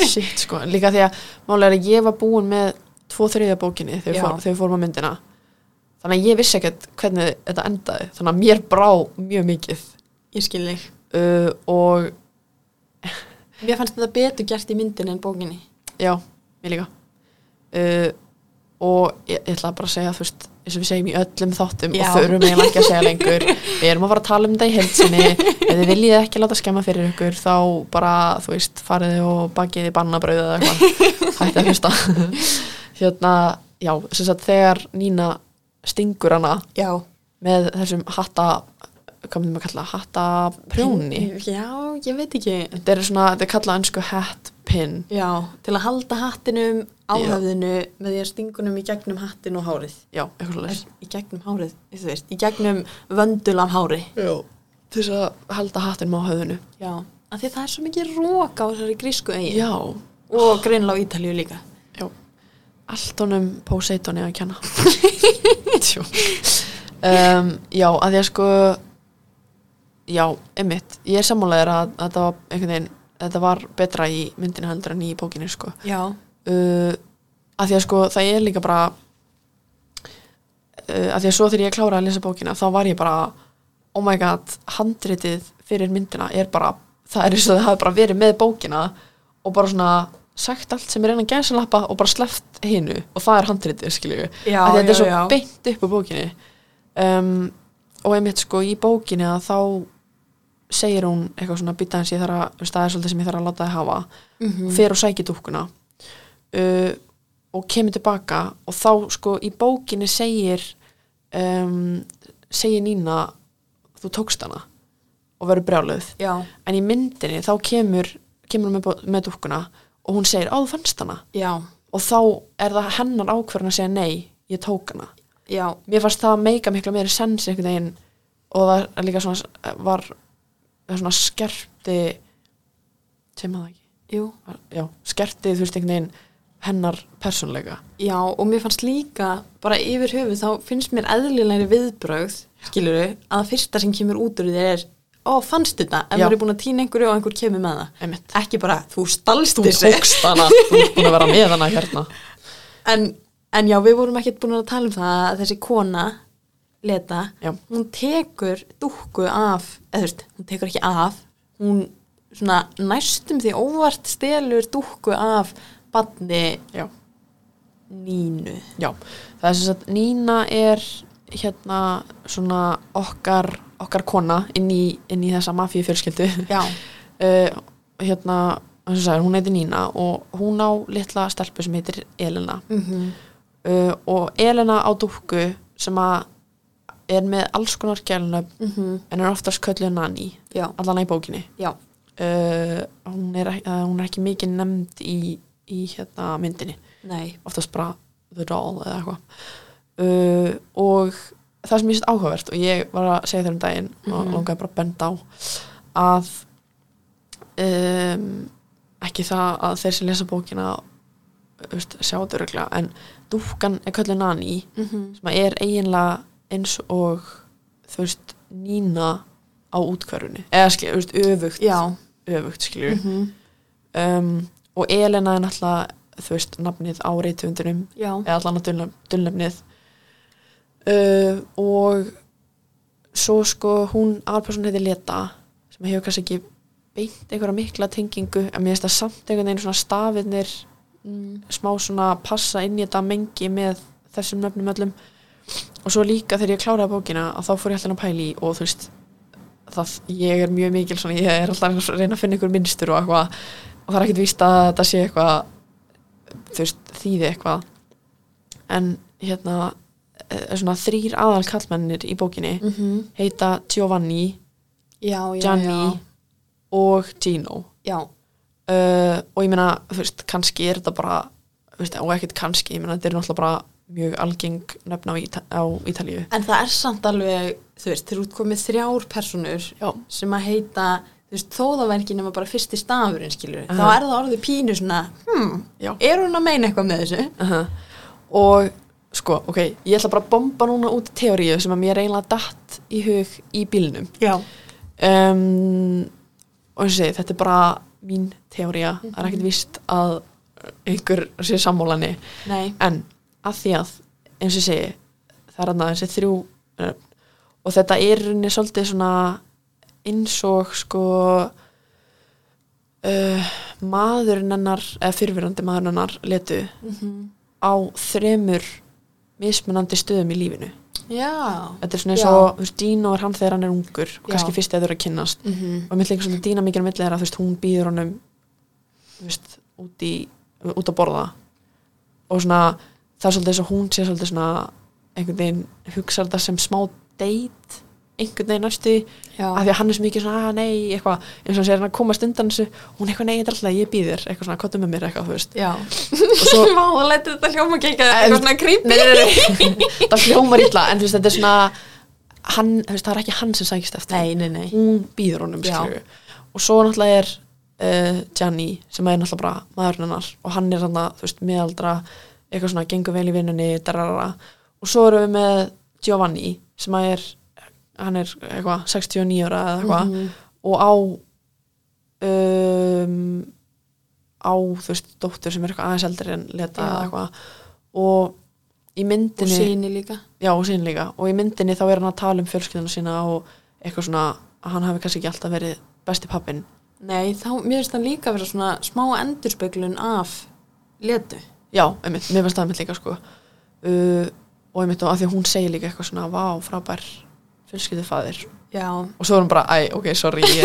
shit sko, líka því að málega er að ég var búin með tvo þriðja bókinni þegar
Já.
við fórum- þegar við fórum að myndina þannig að ég vissi ekkert hvernig þetta endaði þannig að mér brá mjög mikið
ég skil þig
uh, og
mér fannst þetta betur gert í myndinni en bókinni
Já, mér líka uh, Og ég, ég ætla bara að segja þú veist, eins og við segjum í öllum þáttum
Já.
og þurfum eiginlega ekki að segja lengur Við erum að fara að tala um þetta í heilsinni Ef þið viljið ekki láta skemma fyrir ykkur þá bara, þú veist, farið þið og bakið í bannabrauð eða eitthvað Hætti að hlusta Hérna, já, sem sagt þegar Nína stingur hana
já,
með þessum hatta hvað myndum að kalla, hatta prjóni
já, ég veit ekki
Þetta er svona, þetta er kallað önsku hat pin
já, til að halda hattinum á
Já.
höfðinu með því að stingunum í gegnum hattin og hárið
Já, eitthvað svo
Er- í gegnum hárið, þú veist, í gegnum vöndul af hári
Já. Til þess að halda hattinum á höfðinu.
Já, af því það er svo mikið rók á þessari grísku eigin
Já.
og greinlega á Ítalíu líka.
Já. Allt honum Poseidoni að kenna. Tjú. um, já, að því að sko, já, emmitt, ég er sammálaðir að, að þetta var einhvern veginn, þetta var betra í myndinu hendur en í bókinu, sko.
Já,
uh, að því að sko það er líka bara uh, að því að svo þegar ég kláraði að lesa bókina þá var ég bara oh my god, handritið fyrir myndina er bara, það er eins og það hafi bara verið með bókina og bara svona sagt allt sem er einan gæsalappa og bara sleppt hinu og það er handritið skilju að því
Já,
að þetta
já,
er svo
já.
beint upp úr bókinni um, og einmitt sko í bókinni að þá segir hún eitthvað svona býta hans ég þarf að, þú veist, það er svolítið sem ég þarf að láta þið hafa
Mhm. Mm.
og fer og sækir dúkkuna uh, og kemur tilbaka og þá sko í bókinni segir um, segir Nína þú tókst hana og verður brjáluð
já,
en í myndinni þá kemur kemur hún með, bó- með dúkkuna og hún segir á þú fannst hana
já,
og þá er það hennar ákverðin að segja nei ég tók hana
já,
mér fannst það meika miklu meiri sens einhvern veginn og það er líka svona var það svona skerpti sem það ekki
jú,
var- já, skerti þú veist einhvern veginn hennar persónleika
já og mér fannst líka bara yfir höfuð þá finnst mér eðlilegri viðbrögð, skilur við, að það fyrsta sem kemur út úr þér er, ó, fannst þetta, ef
Já.
maður er búin að týna einhverju og einhver kemur með það.
Einmitt.
Ekki bara, þú stalst
þú
þessu.
tókst hana, þú ert búin að vera með hana hérna
En, en já, við vorum ekkert búin að tala um það að þessi kona, Leta,
Já.
hún tekur dúkku af, eða þú veist, hún tekur ekki af, hún svona næstum því óvart stelur dúkku af badni
já,
Nínu.
já, það er sem sagt Nína er hérna svona okkar okkar kona inn í, inn í þessa mafíu fjölskyldu
Já,
uh, hérna, eins og sagði, hún heitir Nína og hún á litla stelpu sem heitir Elena
mhm,
uh, og Elena á dúkku sem að er með alls konar gælunöfn
mhm,
en er oftast kölluð Nani
já,
allan í bókinni
já,
uh, hún, er, ek- uh, hún er ekki mikið nefnd í, í hérna myndinni
nei,
oftast bara The Doll eða eitthvað uh, og það sem ég sett áhugavert og ég var að segja þér um daginn og
Mhm.
langaði bara að benda á að um, ekki það að þeir sem lesa bókina þú veist, sjá þetta öruglega en dúkan er kallið Nani
mhm,
sem að er eiginlega eins og þú veist Nína á útkvarunni eða skilja, þú veist, öfugt
já,
öfugt skilju
mhm,
um, og Elena er náttúrulega þú veist, nafnið á reytöfundunum
já,
eða allan að dulnöf- dulnefnið uh, og svo sko hún aðalperson heiti Leta sem hefur kannski ekki beint einhverja mikla tengingu en mér finnst það samt einhvern veginn svona stafirnir
mm,
smá svona passa inn í þetta mengi með þessum nöfnum öllum og svo líka þegar ég kláraði bókina að þá fór ég alltaf að pæla í og þú veist það, ég er mjög mikil svona, ég er alltaf að reyna að finna ykkur minnstur og eitthvað og það er ekkit víst að það sé eitthvað þú veist, þýði eitthvað en hérna eh, svona þrýr aðal kallmennir í bókinni
mm -hmm.
heita Giovanni,
já, já,
Gianni og Gino
já, já,
uh, og ég meina, þú veist, kannski er þetta bara þú veist, og ekkert kannski, ég meina, þetta er náttúrulega bara mjög algeng nöfn á, Íta á Ítalíu
en það er samt alveg þú veist, þeir útkomið þrjár personur
Já.
sem að heita þú veist, þó það væri ekki nema bara fyrsti stafurinn skilur,
Aha.
þá er það orðið pínu svona hmm,
Já.
er hún að meina eitthvað með þessu?
uh og sko, ok, ég ætla bara að bomba núna út teóriu sem að mér eiginlega datt í hug í bílnum
Já.
um, og eins og ég segi, þetta er bara mín teória, það er ekkert víst að einhver sé sammálani
Nei.
en að því að eins og ég segi, það er annað þessi þrjú nöfn og þetta er í rauninni svolítið svona eins og sko uh, maðurinn hennar eða fyrirverandi maðurinn hennar letu
Mhm.
á þremur mismunandi stöðum í lífinu
Já.
þetta er svona eins
Já.
og þú veist, Dino er hann þegar hann er ungur
Já.
og kannski fyrst eða þau eru að kynnast
Mm -hmm.
og mitt líka svona Dina mikið á milli er að þú veist, hún býður honum þú veist, út, í, út að borða og svona það er svolítið eins og hún sé svolítið svona einhvern veginn hugsa þetta sem smá date einhvern veginn næstu því,
Já.
af því að hann er svo mikið svona að nei, eitthvað, eins og hann sé hann að komast undan þessu og hún eitthvað nei, þetta er alltaf ég býður eitthvað svona, kottum með mér eitthvað, þú veist
Já.
og svo,
Vá, það lætur þetta hljóma ekki eitthvað
En-
eitthvað svona creepy.
nei, nei, nei, nei. það hljómar illa en þú veist, þetta er svona hann, þú veist, það er ekki hann sem sækist eftir
Nei, nei, nei.
hún býður honum
Já.
skilju og svo náttúrulega er uh, Gianni sem er náttúrulega bara maðurinn hennar og hann er hann þú veist, miðaldra eitthvað svona, gengur vel í vinnunni darara. og svo erum við með Giovanni sem að er hann er eitthvað 69 ára eða eitthvað
Mhm.
og á um, á þú veist, dóttur sem er eitthvað aðeins eldri en leta
Já.
eða eitthvað og í myndinni
síni líka.
Já, og sín líka. Og í myndinni þá er hann að tala um fjölskylduna sína og eitthvað svona að hann hafi kannski ekki alltaf verið besti pappin.
Nei, þá, mér finnst það líka að vera svona smá endurspeglun af letu.
Já, einmitt, mér finnst það einmitt líka sko. Uh, og einmitt og að því að hún segir líka eitthvað svona, vá, frábær fjölskyldufaðir.
Já.
Og svo er hún bara, æ, ok, sorry, ég,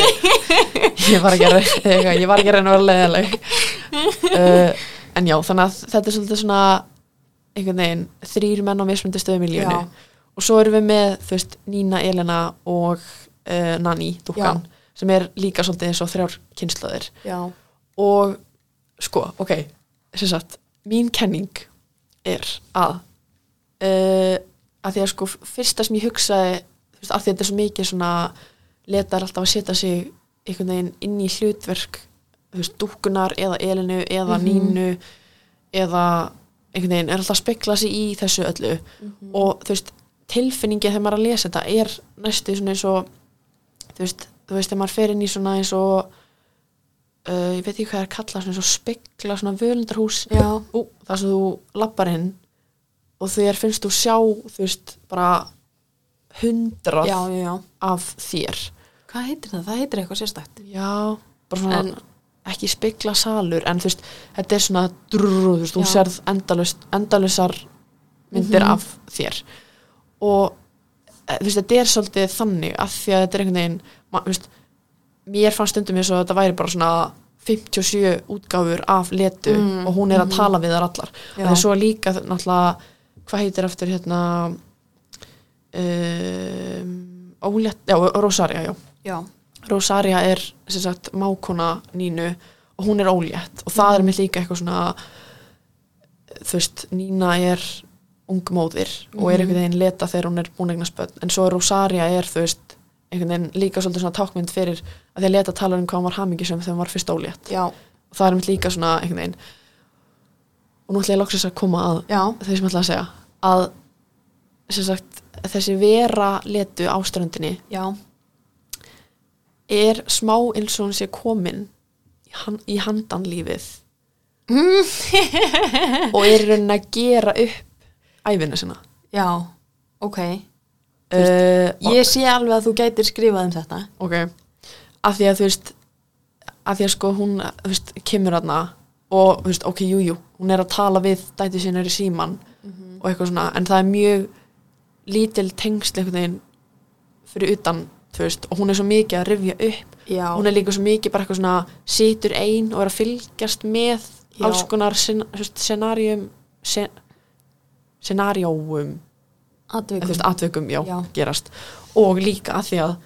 ég var ekki að reyna, eitthvað, ég var ekki að reyna að vera leðileg. Uh, en já, þannig að þetta er svolítið svona einhvern veginn, þrýr menn á mismöndi stöðum í lífinu.
Já.
og svo erum við með þú veist, Nína, Elena og uh, Nani, dúkkan, sem er líka svolítið eins og þrjár kynslaðir
Já.
og sko, ok sem sagt, mín kenning er að uh, að því að sko fyrsta sem ég hugsaði, þú veist, af því að þetta er svo mikið svona, letar alltaf að setja sig einhvern veginn inn í hlutverk þú veist, dúkkunar eða Elenu eða
Mhm.
Nínu eða einhvern veginn, er alltaf að spekla sig í þessu öllu
Mhm.
og þú veist, tilfinningi þegar maður er að lesa þetta er næstu svona eins og þú veist, þú veist, þegar maður fer inn í svona eins og uh, ég veit ekki hvað það er kallað svona eins og spekla svona völundarhús
Já.
Ú, þar sem þú lappar inn og þér finnst þú sjá þú veist, bara hundrað
Já, já, já.
af þér
Hvað heitir það? Það heitir eitthvað sérstætt.
já, bara svona
En-
ekki spekla salur, en þú veist þetta er svona drrrr, þú veist, þú
Já. Mhm.
serð endalust, endalusar myndir af þér og eh, þú veist, þetta er svolítið þannig af því að þetta er einhvern veginn ma- þú veist, mér fannst stundum eins og þetta væri bara svona 57 útgáfur af letu
Mm,
og hún er að tala við þar allar
Já.
og það er svo líka náttúrulega hvað heitir eftir hérna um, ólétt, já, Rosaria, já
Já.
Rosaria er sem sagt mákona Nínu og hún er ólétt og það er mér líka eitthvað svona þú veist, Nína er ung móðir og er einhvern veginn leta þegar hún er búin að eignast börn en svo er Rosaria er, þú veist, einhvern veginn líka svolítið svona tákmynd fyrir að því að leta tala um hvað hún var hamingisum þegar hún var fyrst ólétt
Já.
og það er mér líka svona einhvern veginn og nú ætla ég loksins að koma að
Já.
þeir sem ætla að segja að sem sagt, þessi vera letu áströndinni
Já.
er smá eins og hún sé komin í, han, í handanlífið Mhm.
Eh.
og er í rauninni að gera upp æfina sinna
Já. Ok.
uh,
Ég sé alveg að þú gætir skrifað um þetta.
ok af því að þú veist af því að sko hún þú veist, kemur hana og þú veist, ok, jújú, jú, hún er að tala við dæti sinna er í síman og eitthvað svona, en það er mjög lítil tengsl einhvern veginn fyrir utan, þú veist, og hún er svo mikið að rifja upp,
já,
hún er líka svo mikið bara eitthvað svona, situr ein og er að fylgjast með
Já.
alls konar sen, þú veist, scenarium sen, scenarióum
atvikum
þú veist, atvikum, já,
Já.
gerast og líka að því að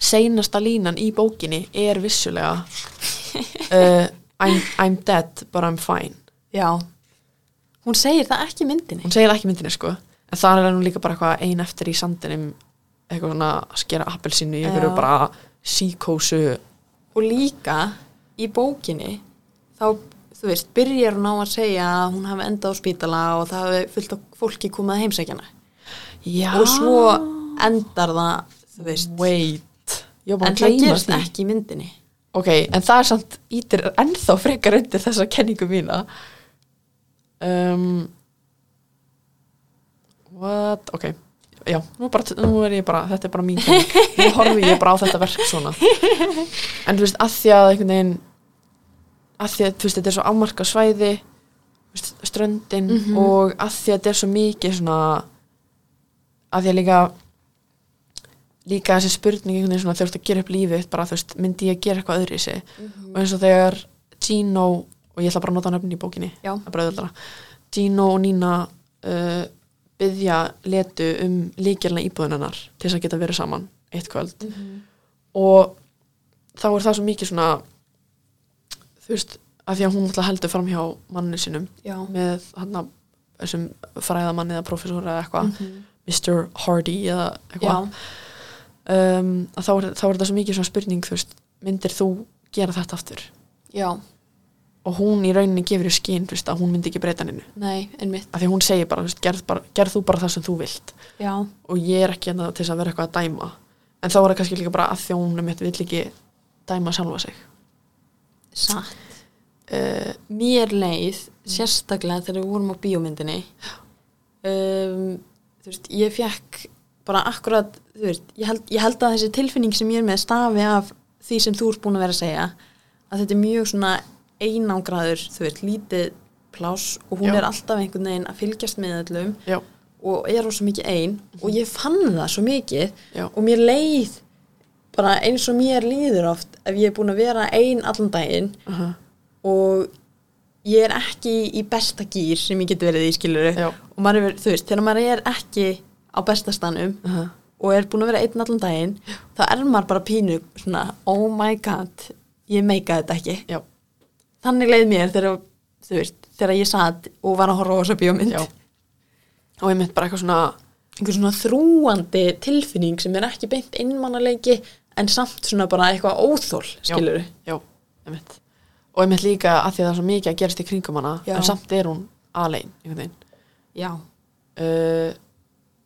seinasta línan í bókinni er vissulega uh, I'm, I'm dead but I'm fine
já, hún segir það ekki í myndinni
hún segir það ekki í myndinni sko en það er nú líka bara eitthvað ein eftir í sandinum eitthvað svona að skera appelsinu í einhverju
Já.
bara síkósu
og líka í bókinni þá, þú veist, byrjar hún á að segja að hún hafi endað á spítala og það hafi fullt af fólki komið að heimsækjana
já,
og svo endar það, þú veist
wait já, bara
en það
gleyma
gerst
því.
ekki í myndinni
ok, en það er samt ítir ennþá frekar undir þessa kenningu mína um, what, ok já, nú, bara, nú er ég bara þetta er bara mín kenning, nú horfi ég bara á þetta verk svona en þú veist, að því að einhvern veginn að því að, þú veist, þetta er svo afmarka svæði þú veist, ströndin og að því að þetta er svo mikið svona að því að líka líka þessi spurning einhvern veginn svona þegar þú ert að gera upp lífið þitt, bara þú veist, myndi ég að gera eitthvað öðru í sig og eins og þegar Gino og ég ætla bara að nota nöfnin í bókinni
Já.
að bara öðvöldra Gino og Nína uh, byðja letu um líkjálna íbúðunarnar til þess að geta verið saman eitt kvöld og þá er það svo mikið svona þú veist, að því að hún ætla heldur fram hjá manninu sinum
já,
með hann að þessum fræðamann eða professor eða eitthvað
Mhm.
Mr. Hardy eða
Mm. já,
eitthvað um, að þá er, þá er þetta svo mikið svona spurning þú veist, myndir þú gera þetta aftur
já,
og hún í rauninni gefur í skín veist, að hún myndi ekki breyta hennu
nei, einmitt
af því að hún segir bara, þú veist, gerð, bara, gerð þú bara það sem þú vilt
já,
og ég er ekki hérna til þess að vera eitthvað að dæma en þá er það kannski líka bara að því að hún mitt vill ekki dæma sjálfa sig Eh,
satt uh, mér leið sérstaklega þegar við vorum á bíómyndinni um, þú veist, ég fekk bara akkurat, þú veist ég held, ég held að þessi tilfinning sem ég er með stafi af því sem þú ert búin að vera að segja að þetta er mjög svona einangraður, þú veist, lítið pláss og hún
Já.
er alltaf einhvern veginn að fylgjast með öllum
já,
og er rosa mikið ein og ég fann það svo mikið
Já.
og mér leið bara eins og mér líður oft ef ég er búin að vera ein allan daginn
uh
og ég er ekki í besta gýr sem ég get verið í skiluru
Já.
og maður er, þú veist, þegar maður er ekki á besta stanum og er búin að vera einn allan daginn þá er maður bara pínu svona, oh my god ég meika þetta ekki
já,
þannig leið mér þegar, þú veist, þegar ég satt og var að horfa á þessa bíómynd
já og ég mitt bara eitthvað svona
einhver svona þrúandi tilfinning sem er ekki beint einmannaleiki en samt svona bara eitthvað óþól skilur
já, einmitt og einmitt líka að því að það er svo mikið að gerast í kringum hana
Já.
en samt er hún alein einhvern veginn
já
uh,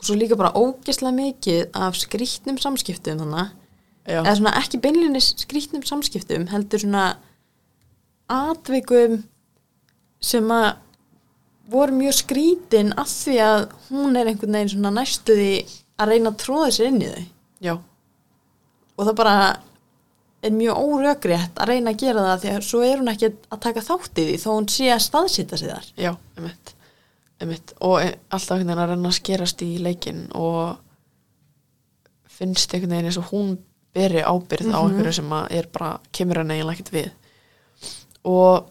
og svo líka bara ógeðslega mikið af skrýtnum samskiptum þannig
já,
eða svona ekki beinlinni skrýtnum samskiptum heldur svona atvikum sem að voru mjög skrýtin af því að hún er einhvern veginn svona næstuði að reyna að tróða sér inn í þau
já,
og það bara er mjög órökrétt að reyna að gera það því að svo er hún ekki að taka þátt í því þó hún sé að staðsýta sig þar
já, einmitt einmitt og e- alltaf einhvern veginn að reyna að skerast í leikinn og finnst einhvern veginn eins og hún beri ábyrð á einhverju sem að er bara kemur henni eiginlega ekkert við og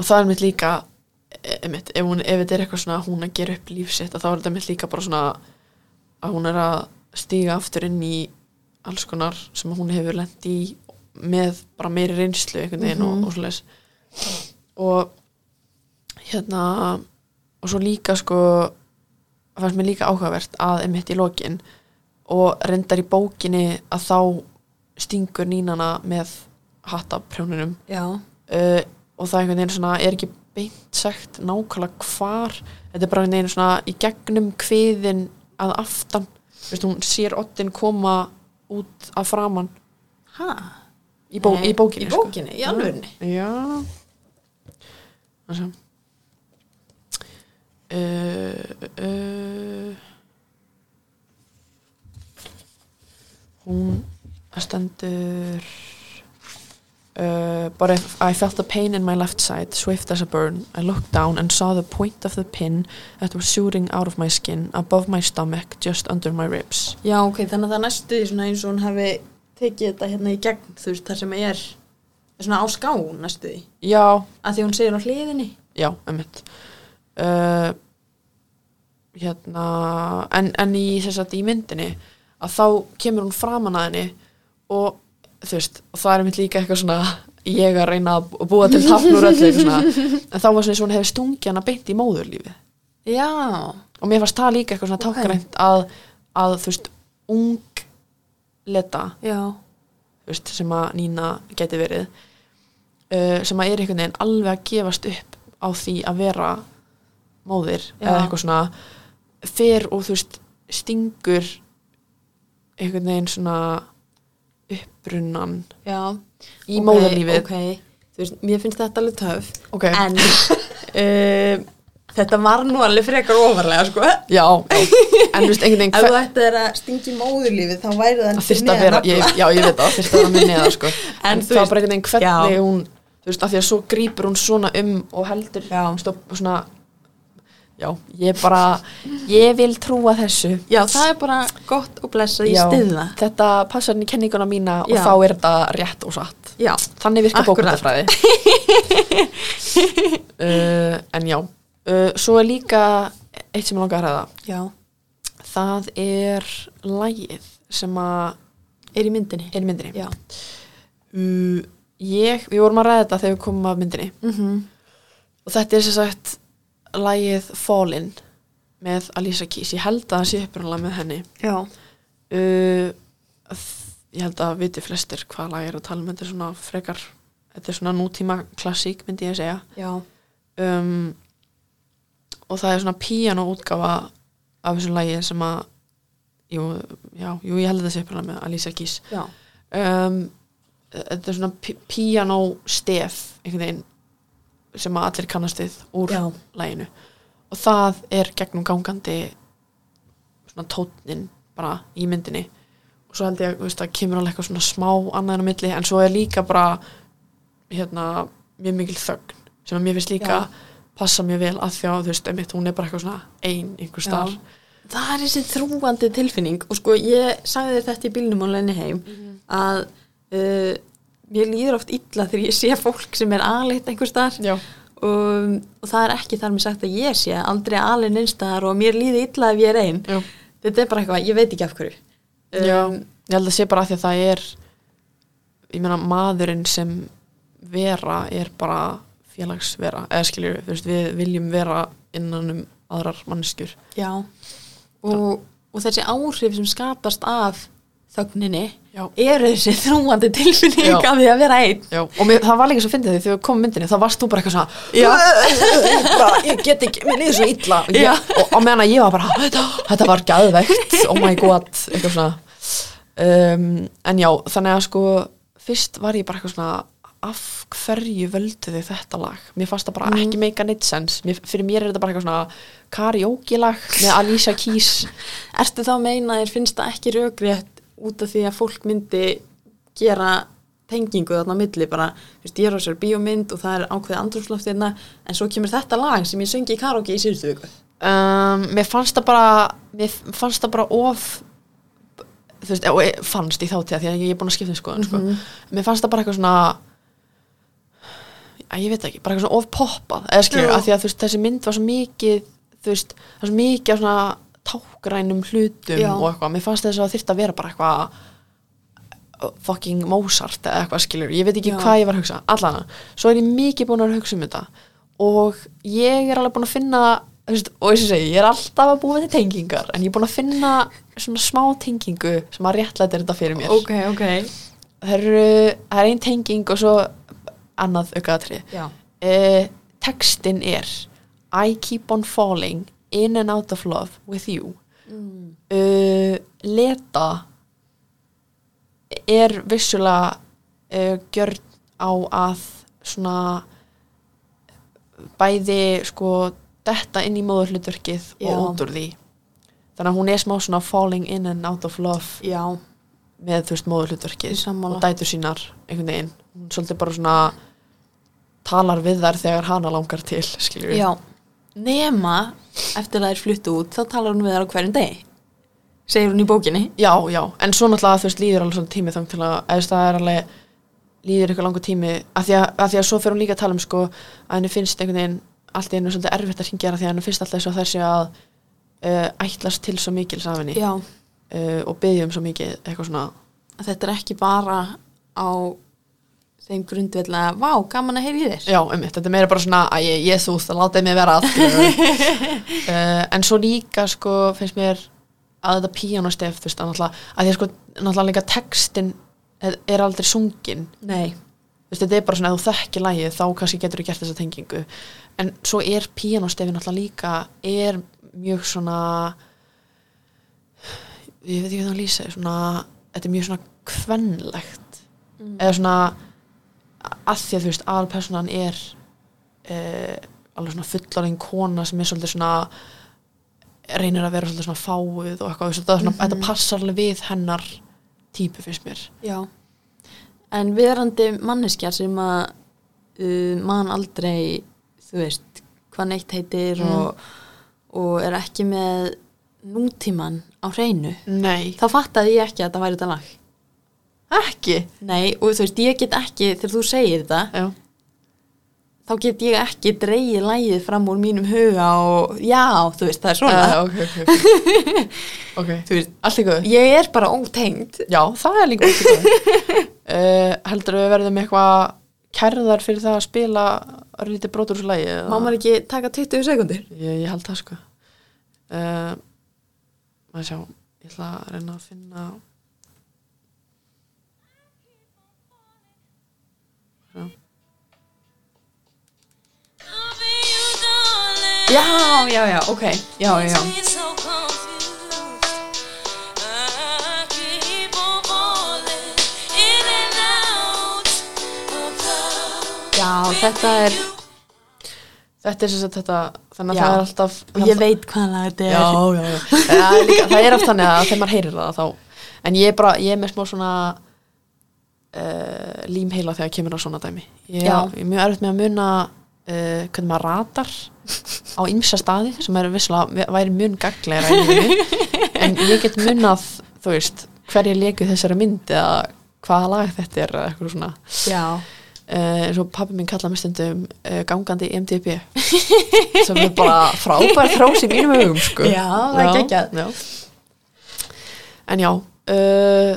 og það er mitt líka e- einmitt, ef, hún, ef þetta er eitthvað svona að hún að gera upp líf sitt að þá er þetta mitt líka bara svona að hún er að stíga aftur inn í alls konar sem hún hefur lent í með bara meiri reynslu einhvern veginn og, og svoleiðis og hérna og svo líka sko fannst mér líka áhugavert að emitt í lokin og reyndar í bókinni að þá stingur nýnana með hattaprjónunum
já,
uh, og það einhvern veginn svona er ekki beint sagt nákvæmlega hvar þetta er bara einhvern veginn svona í gegnum kviðin að aftan Vist, hún sér ottin koma út að framann
hæ?
í, bó, í bókinni
í bókinni, sko. í alvörni
sko. já það uh, uh, hún það stendur uh, but if I felt the pain in my left side, swift as a burn. I looked down and saw the point of the pin that was shooting out of my skin, above my stomach, just under my ribs.
Já, ok, þannig að það er næstu svona eins og hún hafi tekið þetta hérna í gegn, þú veist, þar sem ég er svona á ská næstu því
Já,
að því hún segir á hliðinni
já, emmitt. Uh, hérna, en, en í, sem sagt, í myndinni, að þá kemur hún framan að henni og, þú veist, og það er mitt líka eitthvað svona, ég að reyna að búa til tafnur öllu, svona, en þá var svona eins og hún hefði stungið hana beint í móðurlífið.
Já,
og mér fannst það líka eitthvað svona
Ok.
tákgrænt að, að þú veist, ung leta,
já,
þú veist, sem að Nína geti verið uh, sem að er einhvern veginn alveg að gefast upp á því að vera móðir
Já.
eða eitthvað svona fer og þú veist, stingur einhvern veginn svona upprunnan
já
í
Ok,
móðurlífið
Ok, þú veist, mér finnst þetta alveg töf
Ok.
En um, þetta var nú alveg frekar ofarlega, sko
Já, já, en þú veist, einhvern veginn
Ef þú
hver-
ætti þér að stingi móðurlífið þá væri það
það þyrst að vera, ég, já ég veit það, þyrst að vera minni eða sko
En
en
þú
það var
veist-
bara einhvern veginn hvernig
Já.
hún þú veist, af því að svo grýpur hún svona um og heldur,
Já.
stopp, svona já, ég bara ég vil trúa þessu
Já, það er bara gott og blessað í
Já,
stiða
þetta passar henni kenninguna mína og
Já.
þá er þetta rétt og satt
Já,
þannig virka
Akkurat.
bókmyndafræði uh, en já uh, svo er líka eitt sem ég langar að ræða
já,
það er lægið sem að
er í myndinni
er í myndinni
Já,
uh, ég, við vorum að ræða þetta þegar við komum að myndinni
mm
og þetta er sem sagt lagið Fallin með Alisa Keys, ég held að það sé upprunalega með henni
já,
uh, þ- ég held að viti flestir hvað lag ég er að tala um þetta er svona frekar, þetta er svona nútíma klassík myndi ég að segja
já,
um, og það er svona píano útgafa af þessu lagi sem að jú, já, jú ég held að það sé upprunalega með Alisa Keys
já,
um, þetta er svona pí- piano stef einhvern veginn sem að allir kannast við úr
Já.
læginu og það er gegnum gangandi svona tónnin bara í myndinni og svo held ég að það kemur alveg eitthvað svona smá annaðin á milli en svo er líka bara hérna mjög mikil þögn sem að mér finnst líka
Já.
passa mjög vel að því að þú veist einmitt hún er bara eitthvað svona ein einhver starf
Það er þessi þrúandi tilfinning og sko ég sagði þér þetta í bílnum á leini heim að uh, mér líður oft illa þegar ég sé fólk sem er aðleitt einhver staðar
Já.
og, Um, og það er ekki þar með sagt að ég sé aldrei alveg neinstaðar og mér líði illa ef ég er einn
Já.
þetta er bara eitthvað, ég veit ekki af hverju Um,
Já, Um, ég held að sé bara að því að það er ég meina maðurinn sem vera er bara félagsvera, eða skiljur við, veist, við viljum vera innan um aðrar manneskjur
já. Og, og þessi áhrif sem skapast af þögninni
Já.
eru þessi þrúandi tilfinning
Já.
af því að vera einn
Já, og mér, það var líka svo fyndið því þegar við komum myndinni þá varst þú bara eitthvað svona
Já.
ég, bara, ég get ekki, mér liður svo illa og,
Já.
ég, og, og meðan að ég var bara þetta, þetta var gæðvegt, oh my god eitthvað svona um, en já, þannig að sko fyrst var ég bara eitthvað svona af hverju völdu þið þetta lag mér fannst það bara
Mhm.
ekki meika neitt sens mér, fyrir mér er þetta bara eitthvað svona karaoke lag með Alicia Keys
Ertu þá að meina að þér finnst það ekki rökrétt út af því að fólk myndi gera tengingu þarna á milli bara, þú veist, ég er á sér bíómynd og það er ákveðið andrúmsloftina en svo kemur þetta lag sem ég söngi í karaoke í síðustu viku.
um, mér fannst það bara mér fannst það bara of þú veist, og ég fannst í þáttíða því að ég er búin að skipta um skoðun sko. mér fannst það bara eitthvað svona að ég veit það ekki, bara eitthvað svona of poppað eða skilur,
Já.
að því að þú veist, þessi mynd var svo mikið þú veist, það var svo mikið af svona tákrænum hlutum
Já.
og eitthvað, mér fannst þess að það þyrfti að vera bara eitthvað uh, fucking Mozart eða eitthvað skilur, ég veit ekki
Já.
hvað ég var að hugsa allana, svo er ég mikið búin að hugsa um þetta og ég er alveg búin að finna þú veist, og eins og ég segi, ég er alltaf að búa til tengingar, en ég er búin að finna svona smá tengingu sem að réttlæta þetta fyrir mér
ok.
það, eru, það er ein tenging og svo annað aukaðatri
Já.
uh, textin er I keep on falling in and out of love with you
Mm.
uh, leta er vissulega uh, gjörn á að svona bæði sko detta inn í móðurhlutverkið
Já.
og út úr því þannig að hún er smá svona falling in and out of love
Já,
með þú veist móðurhlutverkið
Ég sammála.
og dætur sínar einhvern veginn hún svolítið bara svona talar við þær þegar hana langar til skilur
Já, nema eftir að það er fluttu út, þá talar hún við þar á hverjum degi segir hún í bókinni
já, já, en svo náttúrulega þú veist líður alveg svona tími þang til að eða þú veist, það er alveg líður ykkur langur tími af því að, að því að svo fer hún líka að tala um sko að henni finnst einhvern veginn allt í hennu svolítið erfitt að hringja hana því að henni finnst alltaf þess að þessi að uh, ætlast til svo mikil safinni uh,
Já,
og byggja um svo mikið eitthvað svona
að þetta er ekki bara á þeim grundvelna vá, gaman að heyri þér
Já, einmitt, þetta er meira bara svona að ég, jesús, það látaði mig vera allt uh, en svo líka sko, finnst mér að þetta píanostef, þú veist, að náttúrulega að því að sko, náttúrulega líka textin er- er aldrei sungin,
Nei,
þú veist, þetta er bara svona að þú þekki lagið, þá kannski getur þú gert þessa tengingu en svo er píanostefin náttúrulega líka, er mjög svona ég veit ekki hvað það lýsa því, svona, þetta er mjög svona kvenlegt
Mm.
eða svona að því að þú veist, aðalpersonan er eh, alveg svona fullarinn kona sem er svolítið svona reynir að vera svolítið svona fáuð og eitthvað, þú veist, þetta, er svona, þetta passar alveg við hennar típu finnst mér
já En viðrandi manneskja sem að uh, man aldrei þú veist, hvað neitt heitir
Mm.
og, og er ekki með nútíman á hreinu
Nei,
þá fattaði ég ekki að þetta væri þetta lag
ekki
Nei, og þú veist, ég get ekki, þegar þú segir þetta
Já,
þá get ég ekki dreigið lægið fram úr mínum huga og já, þú veist, það er svona
uh, ok, ok, ok, okay.
Þú veist,
Allt í góðu
ég er bara ótengd
Já, það er líka allt í góðu uh, Heldur við verðum eitthvað kærðar fyrir það að spila örlítið brotur úr svo lægi
Má maður ekki taka 20 sekundir?
Ég, ég held það sko uh, Maður sjá Ég ætla að reyna að finna Já.
Já, já, já, ok, já, já, já Já, þetta er,
Þetta er sem sagt þetta Þannig að
Já.
það er alltaf
og ég veit hvað þetta er
já, já, já. Það, er líka, það er oft þannig að þegar maður heyrir það þá, en ég er bara, ég er með smá svona uh, límheila þegar kemur á svona dæmi ég,
Já.
ég er mjög erfitt með að muna uh, hvernig maður ratar á ymsa staði sem er visslega, væri mjög gaglegra í lífinu. en ég get munað þú veist, hverja leiku þessari mynd eða hvaða lag þetta er eða eitthvað svona
Já,
uh, eins og pappi minn kallaði mér stundum uh, gangandi MDB sem er bara frábær þrós í mínum augum sko.
Já, það er geggjað.
já. en já uh,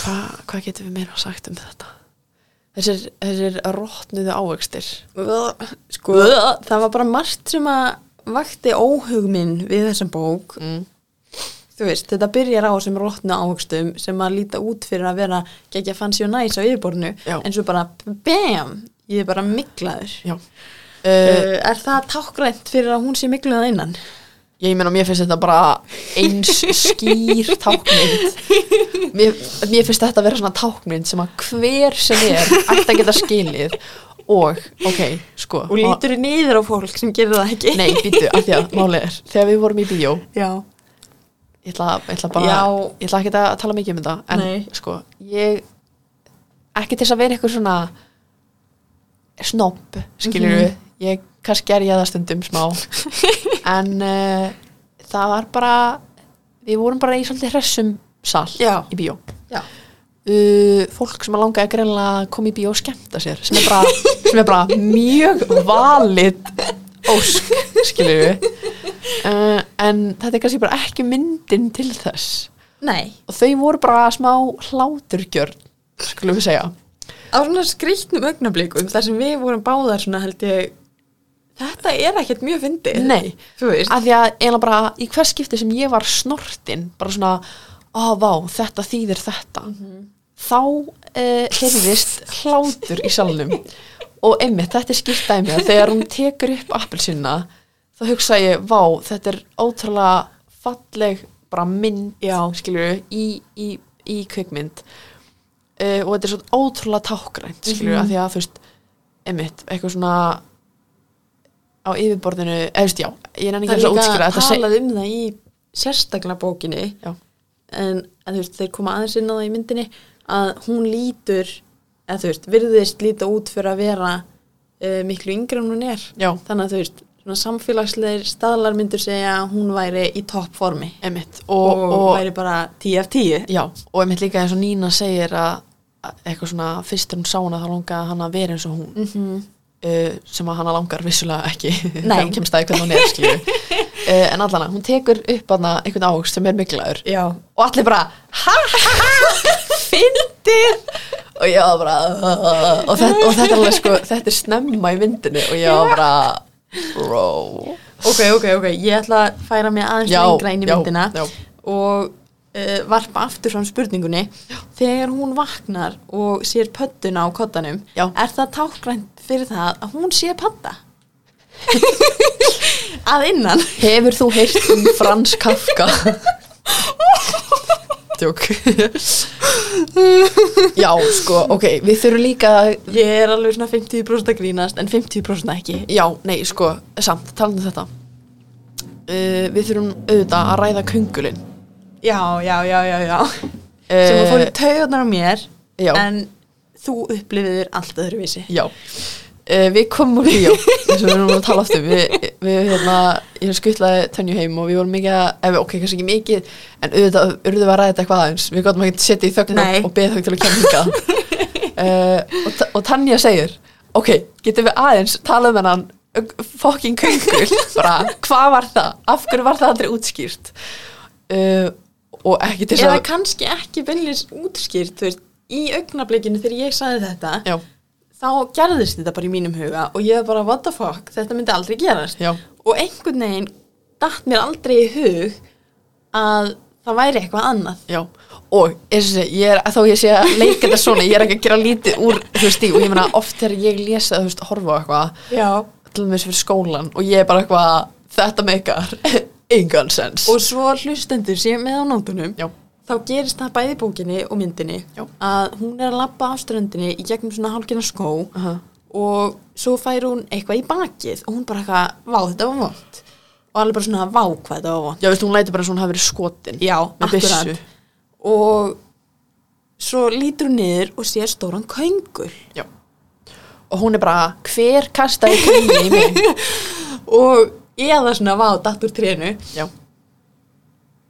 hvað hva getum við meira sagt um þetta þessir, þessir rótnuðu ávegstir
sko, það var bara margt sem að vakti óhug minn við þessum bók
mm.
þú veist, þetta byrjar á þessum rótnu áhugstum sem að líta út fyrir að vera gegja fancy og næs á yfirborðinu
Já.
en svo bara, bam, ég er bara miklaður
já
uh,
uh,
Er það tákrænt fyrir að hún sé mikluð að innan?
Ég meina, mér finnst þetta bara eins skýr tákmynd mér, mér finnst þetta að vera svona tákmynd sem að hver sem er ætti að geta skilið og, ok, sko
Og lítur niður á fólk sem gerir það ekki
Nei, býtu, af því að máli er þegar við vorum í bíó,
Já,
ég ætla, ég ætla bara
Já.
ég ætla ekki að tala mikið um þetta en
Nei.
sko, ég ekki til þess að vera eitthvað svona snobb, skilur við
Mhm.
ég kannski er ég það stundum smá en uh, það var bara við vorum bara í svolítið hressum sal
Já.
í bíó
já,
uh, fólk sem að langaði greinlega að koma í bíó og skemmta sér sem er bara, sem er bara mjög valid ósk, skilur við uh, en þetta er kannski bara ekki myndin til þess
nei
og þau voru bara smá hláturgjörn skulum við segja
Á svona skrýtnum augnablikum þar sem við vorum báðar svona held ég Þetta er ekkert mjög fyndið
Nei.
Þú veist
af því að eiginlega bara í hvers skipti sem ég var snortin bara svona, á vá, þetta þýðir þetta
Mhm.
þá uh, heyrðist hlátur í salnum og einmitt, þetta er skýrt dæmi að þegar hún tekur upp appelsina þá hugsa ég, vá, þetta er ótrúlega falleg bara mynd,
Já.
skilur í, í, í kvikmynd uh, og þetta er svo ótrúlega tákrænt skilur,
Mhm.
af því að þú veist einmitt, eitthvað svona á yfirborðinu, eða þú veist, já ég er ennig
Það
að
er líka
útskýra þetta seg-
talað um það í sérstaklega bókinni
Já.
en, en þú veist, þeir koma aðeins inn á það í myndinni að hún lítur eða þú veist, virðist líta út fyrir að vera uh, miklu yngri en hún er
já,
þannig að þú veist, svona samfélagsleir staðlar myndur segja að hún væri í toppformi
emitt
og,
og, og,
væri bara 10 af 10
já, og emitt líka eins og Nína segir að að eitthvað svona, fyrst er hún sá hana þá langaði hann að vera eins og hún
mm -hmm.
uh, sem að hana langar vissulega ekki
Nei.
þegar hún kemst að hvernig hún er skilju uh, en allana, hún tekur upp hana einhvern áhugst sem er miklaður
Já,
og allir bara ha ha ha fyndið og ég var bara "Ugh." og þetta, og þetta er alveg sko þetta er snemma í vindinu og ég var bara bro
ok, ok, ok ég ætla að færa mig aðeins
Já,
lengra inn í
já,
myndina
já.
og uh, varpa aftur fram spurningunni þegar hún vaknar og sér pöttuna á kottanum
Já.
er það tákgrænt fyrir það að hún sé patta? að innan
hefur þú heyrt um Frans Kafka? tjók já sko ok við þurfum líka að
ég er alveg svona 50% að grínast en 50% ekki
Já, nei, sko, samt, talandi um þetta uh, Við þurfum auðvitað að ræða köngulinn
já, já, já, já, já sem
Eh,
að fór í taugarnar á mér
Já.
en þú upplifiður allt öðruvísi
Já uh, Við komum úr bíó eins og við erum að tala aftur Við, við hérna, ég skuttlaði tönju heim og við vorum mikið að, ef, ok, kannski ekki mikið en auðvitað urðum við að ræða þetta eitthvað aðeins Við gotum ekki setja í þögn
Nei.
og- og beða þau til að kemja hingað uh, og, Ta- og Tanja segir Ok, getum við aðeins talað með hann fucking köngul bara, hvað var það? Af hverju var það aldrei útskýrt? Uh, og ekki til þess
eða
að
kannski ekki beinlis útskýrt þú veist, í augnablikinu þegar ég sagði þetta
Já,
þá gerðist þetta bara í mínum huga og ég var bara what the fuck, þetta myndi aldrei gerast
Já.
og einhvern veginn datt mér aldrei í hug að það væri eitthvað annað
Já, og eins og sé, ég er, þá ég sé að leika þetta svona, ég er ekki að gera lítið úr, þú veist, því, og ég meina oft þegar ég lesa, þú veist, horfa á eitthvað,
Já.
til dæmis fyrir skólan, og ég er bara eitthvað, þetta meikar, engan sens.
og svo hlustendur sé með á nótunum
Já,
þá gerist það bæði í bókinni og myndinni
Já.
að hún er að labba af ströndinni í gegnum svona hálkina skó
Aha.
og svo fær hún eitthvað í bakið og hún bara eitthvað, vá þetta var vont og alveg bara svona, vá hvað þetta var vont
já, veist, hún lætur bara svona að hafa verið skotin.
Já,
með
akkurat.
byssu.
og svo lítur hún niður og sér stóran köngul
Já. Og hún er bara, hver kastaði kringi í mig?
og eða svona vá datt úr trénu
Já,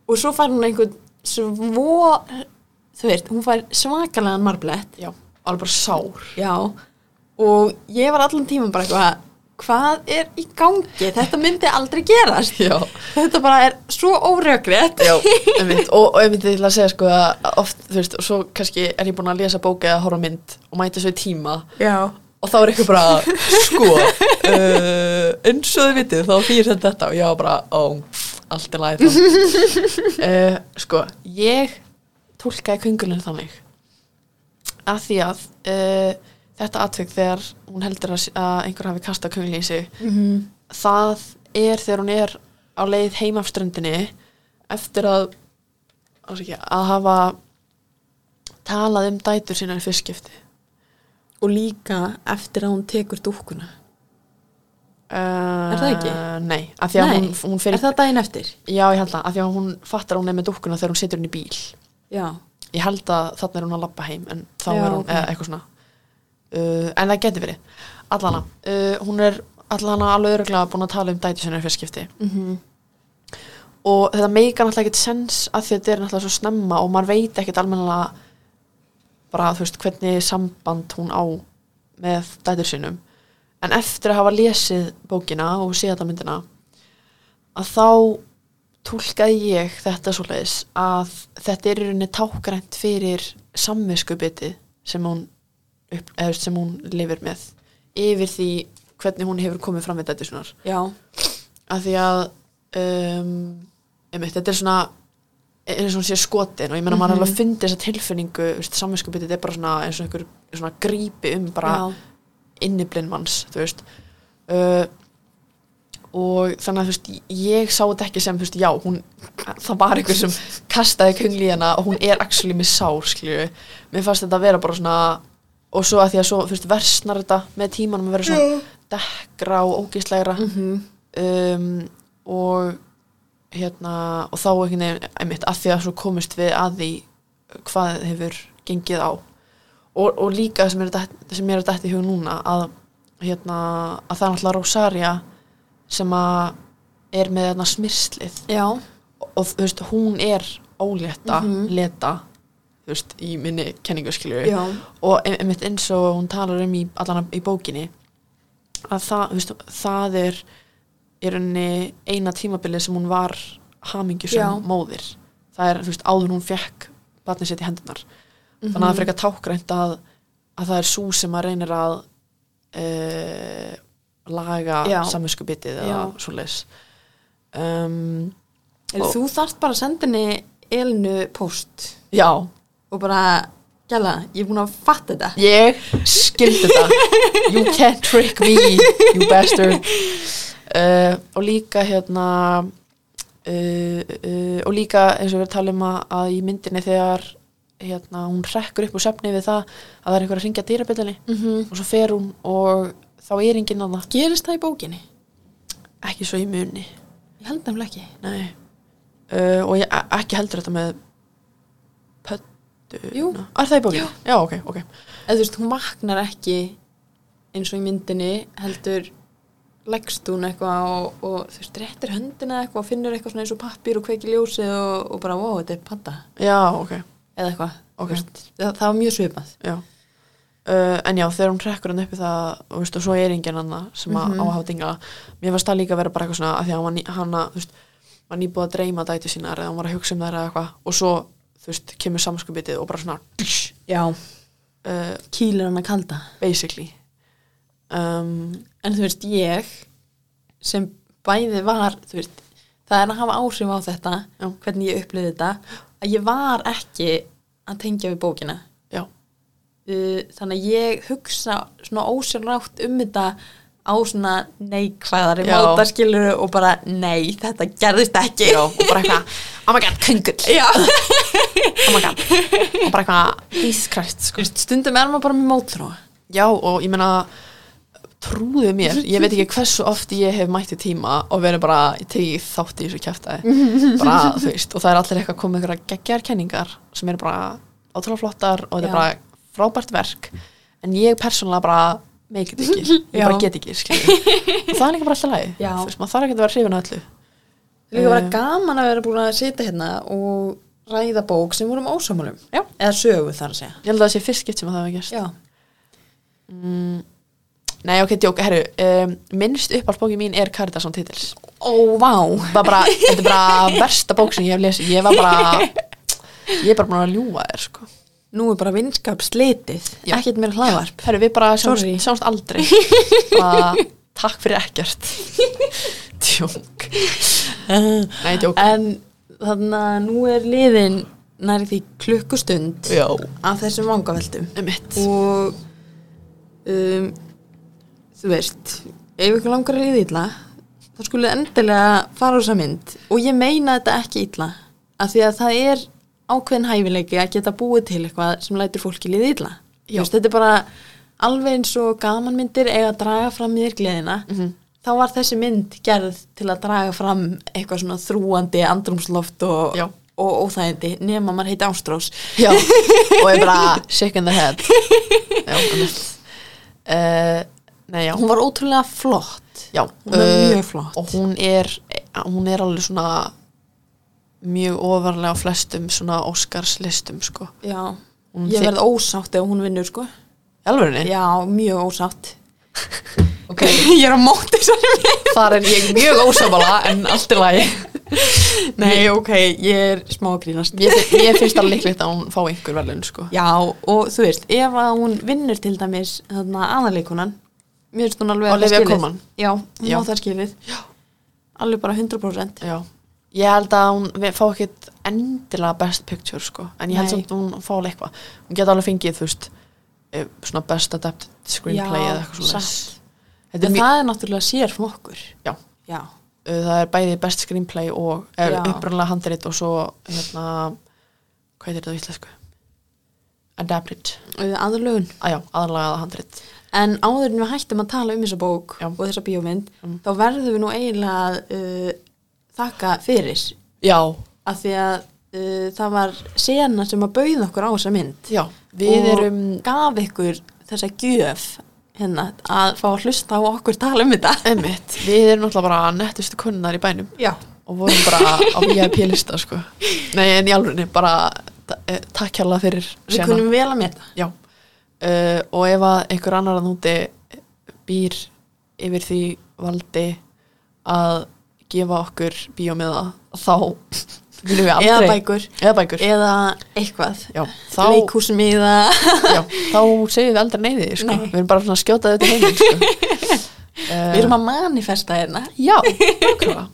og svo fær hún einhvern svo þú veist, hún fær svakalega marblett
já, alveg bara sár.
já, og ég var allan tíman bara eitthvað hvað er í gangi, þetta myndi aldrei gerast
Já.
þetta bara er svo órökrétt
Já, einmitt, og, og einmitt ég ætla að segja sko að oft, þú veist, og svo kannski er ég búin að lesa bóka eða horfa á mynd og mæta svo í tíma
já,
og þá er eitthvað bara, sko uh, eins og þið vitið þá fyrir þetta þetta og ég var bara, ó, allt er lagið þá uh, sko, ég tólkaði kungulinn þannig að því að uh, þetta atvik þegar hún heldur að, að einhver hafi kastað kungulinn í sig
Mhm.
það er þegar hún er á leið heim af ströndinni eftir að ásækja, að hafa talað um dætur sína í fyrstskipti
og líka eftir að hún tekur dúkkuna
Uh,
Er það ekki?
Nei, af því að
Nei,
hún, hún fyrir
er það daginn eftir?
Já, ég held það, af því að hún fattar að hún er með dúkkuna þegar hún situr hún í bíl
já,
Ég held að þarna er hún að labba heim en þá
Já,
er hún,
ok.
eða eitthvað svona uh, En það geti verið Allana, uh, hún er allana alveg öruglega búin að tala um dæti sinni fyrir skipti
mm -hmm.
og þetta meikar náttúrulega ekkert sens af því að þetta er náttúrulega svo snemma og maður veit ekkert almennilega bara þú veist hvernig samband hún á með dætur sinum en eftir að hafa lesið bókina og séð þetta myndina að þá tólkaði ég þetta svoleiðis að þetta er í rauninni tákrænt fyrir samviskubiti sem hún, upp, eða, þú veist, sem hún lifir með yfir því hvernig hún hefur komið fram við dætur sinar
já,
að því að um, einmitt, þetta er svona eins og hún sé skotin og ég meina maður er alveg að fundi þessa tilfinningu, samvinskupið þetta er bara svona eins og einhver svona grípi um bara
já.
inniblinn manns þú veist uh, og þannig að þú veist ég sá þetta ekki sem þú veist já hún, það var einhver sem kastaði kungli í hana og hún er actually með sár skilju, mér fannst þetta að vera bara svona og svo að því að svo þú veist versnar þetta með tímanum að vera svona dekkra og ógíslegra
Mhm.
um, og hérna og þá ekki nefn einmitt að því að svo komist við að því hvað hefur gengið á og, og líka það sem, er dætt, það sem mér er dætt í hug núna að, hérna, að það er náttúrulega Rosaria sem að er með hérna, smyrslið
Já,
og, og þú veist, hún er ólétta,
Mhm.
leta þú veist, í minni kenningaskilju
já,
og ein- einmitt eins og hún talar um í, allan í bókinni að það, þú veist, það er í rauninni eina tímabilið sem hún var
Já.
hamingjusum móðir það er, þú veist, áður en hún fekk barnið sitt í hendunar þannig
Mhm.
að það er frekar tákrænt að, að það er sú sem að reynir að uh,
Já.
laga samvinskubitið eða
Já.
svoleiðis um,
er, þú þarft bara að senda henni Elinu post
já,
og bara, gæla, ég er búin að fatta þetta
Ég skildi þetta You can't trick me You bastard uh, Og líka hérna uh, uh, Og líka eins og við erum að tala um að, að í myndinni þegar hérna, hún rekkur upp úr svefni við það að það er einhver að ringja dýrabillinni
mm -hmm.
og svo fer hún og þá er enginn að það
Gerist það í bókinni?
ekki svo í muni
Ég held nefnilega ekki
Nei uh, Og ég, e- ekki heldur þetta með pöttu
Jú.
Er það í bókinni? Já, Já ok, ok
eða þú veist, hún vaknar ekki eins og í myndinni heldur leggst hún eitthvað og, og þú veist, réttir höndina eitthvað og finnur eitthvað svona eins og pappir og kveikir ljósið og, og bara, wow, þetta er padda
Já, ok
eða eitthvað, þú
Ok.
veist, það, það var mjög svipað
Já. Uh, en já, þegar hún trekkur hann uppi það og, veist, og svo er enginn annað sem mm
Mhm.
á að hafa dingla mér varst það líka að vera bara eitthvað svona að því að hann var ný- hana, þú veist, var nýbúið að dreyma dæti sínar eða hann var að hugsa um þær eða eitthvað og svo, þú veist, kemur samskupitið og bara svona
Já,
uh,
kýlir hann að kalda
basically um,
en þú veist, ég sem bæði var, þú veist það er að hafa áhrif á þetta
Já.
hvernig ég upplýði þetta að ég var ekki að tengja við bókina
já,
uh, þannig að ég hugsa svona ósjálfrátt um þetta á svona neikvæðari
Já.
máta skilur og bara nei, þetta gerðist ekki
já, og bara eitthvað oh my god, kungull,
Já.
oh my god og bara eitthvað, Jesus Christ sko.
Þú veist, stundum er maður bara með mótróa
Já og ég meina trúðu mér, ég veit ekki hversu oft ég hef mætt í tíma og verið bara ég tegi þátt í þessu kjæftæði bara þú veist og það er allir eitthvað komið einhverja geggjar kenningar sem eru bara ótrúlega flottar og
Já.
þetta er bara frábært verk en ég persónulega bara meikið ekki, ég
Já.
bara get ekki skilur. og það er líka bara alltaf lægi
Já.
þú veist, maður þarf ekki að vera hrifin að öllu
Líka bara
Eh.
gaman að vera búin að sitja hérna og ræða bók sem vorum ósamálum
Já.
eða sögu þar að segja
ég held að það sé fyrst skipt sem að það hefur gerst
Já,
mm, Nei ok, djók, herru um, minnst uppáhaldsbóki mín er Caritas án titils
ó, vá
var bara, þetta er bara versta bók sem ég hef lesið, ég var bara ég er bara búin að ljúga þér sko
Nú er bara vinskap slitið
Já.
ekkert meira hlaðvarp
Herru, við bara sjáumst,
Sorry.
sjáumst aldrei bara, takk fyrir ekkert tjók nei, tjók
En þannig að nú er liðin nærið því klukkustund
já,
af þessum vangaveldum
mitt
og um, þú veist ef ykkur langar að líða illa þá skulle endilega fara á þessa mynd og ég meina þetta ekki illa af því að það er ákveðin hæfileiki að geta búið til eitthvað sem lætur fólki líða illa Þú
Já.
veist, þetta er bara alveg eins og gamanmyndir eiga að draga fram í þér gleðina
Mhm.
þá var þessi mynd gerð til að draga fram eitthvað svona þrúandi andrumsloft og,
Já.
og óþægindi nema maður heiti Ástrós
já, og ég bara shake in the head já, um mitt uh, nei, já
Eh, hún var ótrúlega flott
Já,
Hún er
eh,
mjög flott.
Og hún er, eh, hún er alveg svona mjög ofarlega á flestum svona Óskarslistum sko
Já,
Hún
ég
þi-
verð ósátt ef hún vinnur sko
Elfurinni?
Já, mjög ósátt
Ok,
Ég er á móti þessari mynd
þar er ég mjög ósámála en allt er lagi
Nei, ok, ég er smá að grínast
Mér, fi- mér finnst það líklegt að hún fá einhver verðlun sko
Já, og þú veist, ef að hún vinnur til dæmis þarna aðaleikunan Mér finnst hún alveg að
Olivia Colman.
Já, hún
Já.
á það skilið Já. Alveg bara 100%
Já Ég held að hún vi- fá ekkit endilega best picture sko En ég held
Nei.
samt að hún fá alveg eitthvað Hún geta alveg fengið þú veist eh, svona best adapted screenplay
Já,
eða eitthvað svona
satt.
Þetta er
En
mjög,
það er náttúrulega sér flokkur
já
Já,
Uh, það er bæði best screenplay og er
Já.
upprunalega handrit og svo hérna, hvað er þetta á íslensku? Adapted
aðalögun
að já, aðlagaða handrit
En áður en við hættum að tala um þessa bók
Já. Mm.
og þessa bíómynd, þá verðum við nú eiginlega að uh, þakka fyrir
Já,
af því að uh, það var sena sem að bauð okkur á þessa mynd
Já, við
og
erum
gaf ykkur þessa gjöf hérna að fá að hlusta á okkur tala um þetta
einmitt, við erum náttúrulega bara nettustu kunnar í bænum
Já,
og vorum bara á VIP-lista sko. Nei, en í alvegni bara ta- eh, takk hérlega fyrir
við
Sienna.
kunum vel að meta
Já, uh, og ef að einhver annar að núti býr yfir því valdi að gefa okkur bíómiða þá viljum við aldrei
eða bækur
eða bækur.
eða eitthvað
Já,
þá...
þá,
leikhúsmiða
já, þá segjum við aldrei neyði sko.
Nei.
við erum bara svona að skjóta þetta heiminn sko. uh,
við erum að manifesta hérna
Já, okkurlega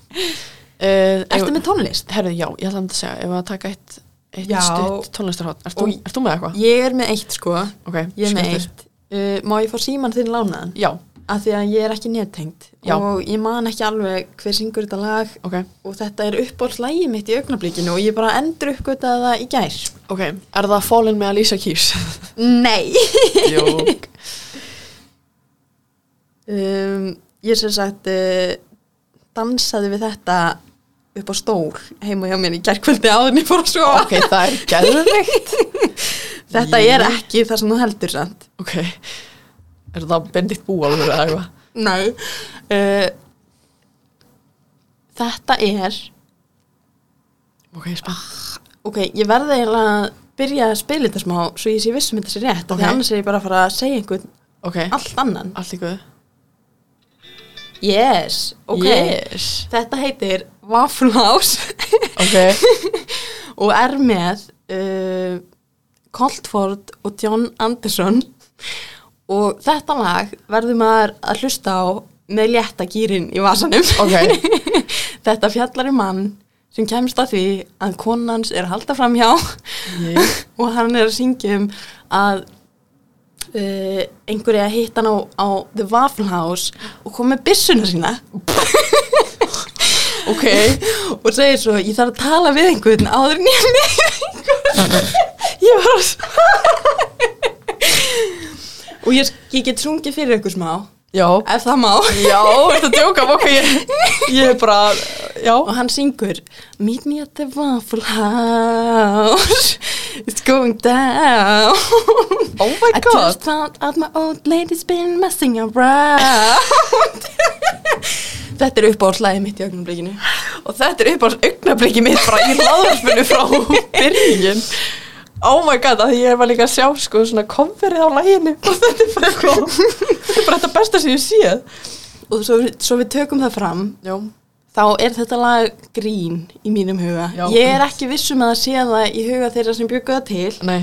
Ertu
uh,
með tónlist?
Herðu, já, ég ætla að segja ef að taka eitt, eitt
Já.
stutt tónlistarhótt ert, þú-
Og-
ert þú með eitthvað?
Ég er með eitt sko
Okay,
Ég er með
skemmtir.
eitt uh, Má ég fá síman þinn lánaðan?
Já,
Af því að ég er ekki nettengt
Já.
Og ég man ekki alveg hver syngur þetta lag
ok
Og þetta er uppáhaldslægi mitt í augnablikinu Og ég bara endur uppgötaði það í gær
Ok, er það Fallin með Alicia Keys?
Nei
Jók
um, Ég sem sagt uh, Dansaði við þetta upp á stól heima hjá mér í gærkvöldi áðurni fór að sofa
Ok, það er gerðveikt
Þetta er ekki það sem þú heldur samt
Ok, er það Bendit Búalfur eða eitthvað?
Nei uh, Þetta er
Ok, spennt
Ok, ég verði eiginlega að byrja að spila þetta smá svo ég sé vissum þetta sé rétt okay.
Ok.
því annars er ég bara að fara að segja einhvern
Ok,
allt annan
allt í guðu
Yes, ok
Yes
Þetta heitir Waffle House
Ok,
og er með uh, Coltford og John Anderson og þetta lag verður maður að hlusta á með létta gýrin í vasanum
ok
Þetta fjallar er mann sem kemst að því að konans er að halda fram hjá
Ég-
og hann er að syngja um að uh, einhverja hitt hann á, á The Waffle House og kom með byssuna sína
Ok,
og segir svo ég þarf að tala við einhvern áður en ég er með einhvern ég var að og ég, ég get sungið fyrir ykkur smá
já
ef það má
Já, ertu að djóka, ok Ég, ég er bara, já
og hann syngur Meet me at the Waffle House It's going down
Oh my
I just found out my old lady's been messing around Þetta er uppáhaldslæði mitt í augnablikinu
Og þetta er upp á augnabliki mitt bara í laðarpinu frá byrjun Oh my god, að því ég var líka að sjá sko svona komverið á læginu og þetta er bara sko þetta er bara þetta besta sem ég séð
og svo, svo við tökum það fram
Já,
þá er þetta lag grín í mínum huga
Já.
ég er ekki viss um að það sé það í huga þeirra sem byggu það til
nei,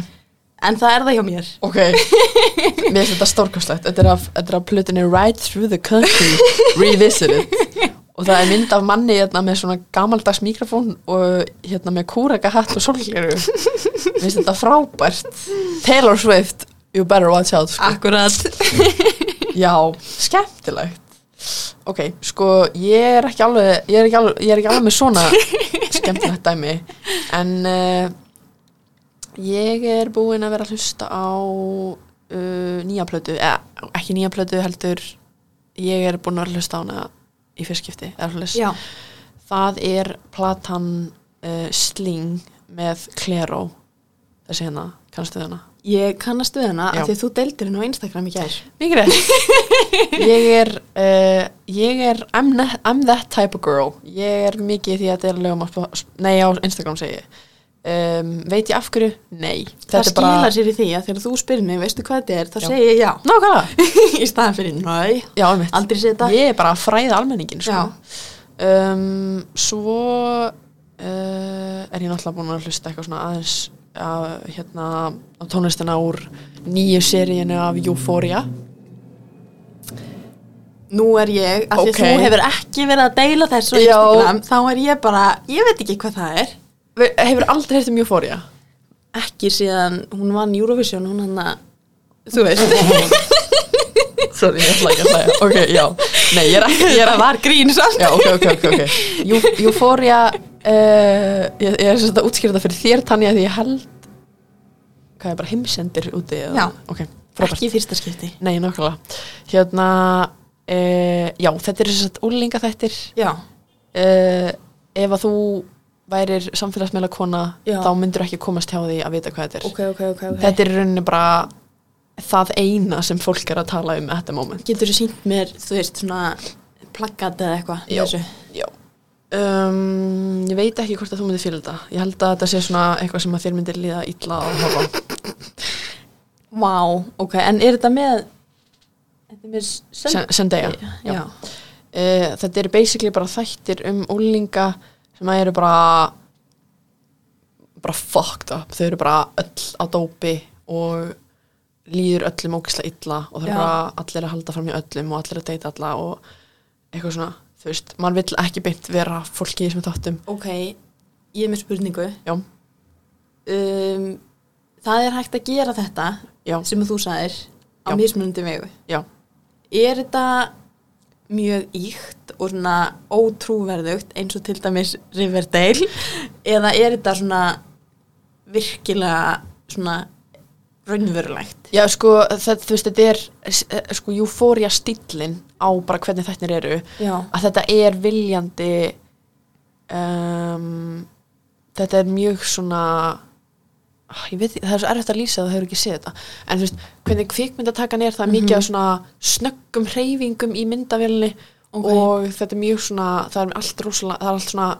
en það er það hjá mér
ok Mér finnst þetta stórkostlegt Þetta er af, þetta er af plötunni Ride Through the Country Revisited og það er mynd af manni hérna með svona gamaldags mikrofón og hérna með kúraka hatt og solgleru Mér finnst þetta frábært Taylor Swift, you better watch out sko.
akkurat
Já, skemmtilegt Ok, sko, ég er ekki alveg ég er ekki alveg, ég er ekki alveg með svona skemmtilegt dæmi en uh, ég er búin að vera að hlusta á uh, nýja plötu eða ekki nýja plötu heldur ég er búin að vera að hlusta á hana í fyrstskipti eða hlust
já,
það er platan uh, Sling með Klero þessi hérna, kannstu þau hana?
ég kannast við hana
Já.
af því að þú deildir henni á Instagram í gær
Mikið rétt Ég er, uh, ég er I'm, ne- I'm that type of girl Ég er mikið í því að þetta er lögum á, Sp- Nei, á Instagram segi ég um, Veit ég af hverju? Nei
það
er
skilar sér í því að þegar þú spyrir mig veistu hvað þetta er, þá
Já.
segi ég já
Nákvæmlega
í staðan fyrir næ,
Já, einmitt
aldrei segja þetta
Ég er bara að fræða almenningin sko.
Já.
um, Svo uh, er ég náttúrulega búin að hlusta eitthvað svona aðeins af, hérna, af tónlistina úr nýju seríinu af Euphoria
nú er ég, af því
Ok.
að þú hefur ekki verið að deila þessu á
Já.
Instagram þá er ég bara, ég veit ekki hvað það er
Hefur aldrei heyrt um Euphoria?
ekki síðan hún vann Eurovision hún hann að, þú veist
Sorry, ég ætla ekki að hlæja Ok, já, nei, ég er ekki ég er að,
var grín samt
Já, ok, ok, ok, ok Jú- Euphoria uh, Ég, ég er svolítið að útskýra þetta fyrir þér Tanja Því ég held Hvað er bara heimsendir úti eða-
Já.
ok, frábært
ekki í fyrsta skipti
Nei, nákvæmlega Hérna, eh, uh, já, þetta er svolítið úlinga þættir
já,
uh, Ef að þú værir samfélagsmeila kona
Já.
þá myndir ekki komast hjá því að vita hvað þetta er
ok, ok, ok, ok
þetta er í rauninni bara það eina sem fólk er að tala um þetta moment
Getur þú sínt mér, þú veist, svona plaggat eða eitthvað
Já.
með þessu?
Já um, Ég veit ekki hvort að þú myndir fyrir þetta Ég held að þetta sé svona eitthvað sem að þér myndir líða illa að horfa á.
Vá, ok, en er þetta með Þetta er með
Sen- Zendaya
Já.
Já. Uh, Þetta eru basically bara þættir um úlinga sem að eru bara bara fucked up þau eru bara öll á dópi og líður öllum ógislega illa og það
Já.
eru bara allir að halda fram í öllum og allir að deyta alla og eitthvað svona, þú veist, maður vill ekki beint vera fólki í þessum þáttum
Ok, ég er með spurningu
Já,
um, Það er hægt að gera þetta
já,
sem að þú sagðir á
Já.
mismunandi vegu
já
Er þetta mjög íkt og svona ótrúverðugt eins og til dæmis Riverdale eða er þetta svona virkilega svona raunverulegt
Já, sko, það, þú veist, þetta er eh, sko, eufória stílinn á bara hvernig þættir eru
Já,
að þetta er viljandi um, þetta er mjög svona ah, ég veit, það er svo erfitt að lýsa það, það hefur ekki séð þetta en þú veist, hvernig kvikmyndatakan er það er mikið af
Mhm.
svona snöggum hreyfingum í myndavélni
Ok.
og þetta er mjög svona, það er allt rosalega það er allt svona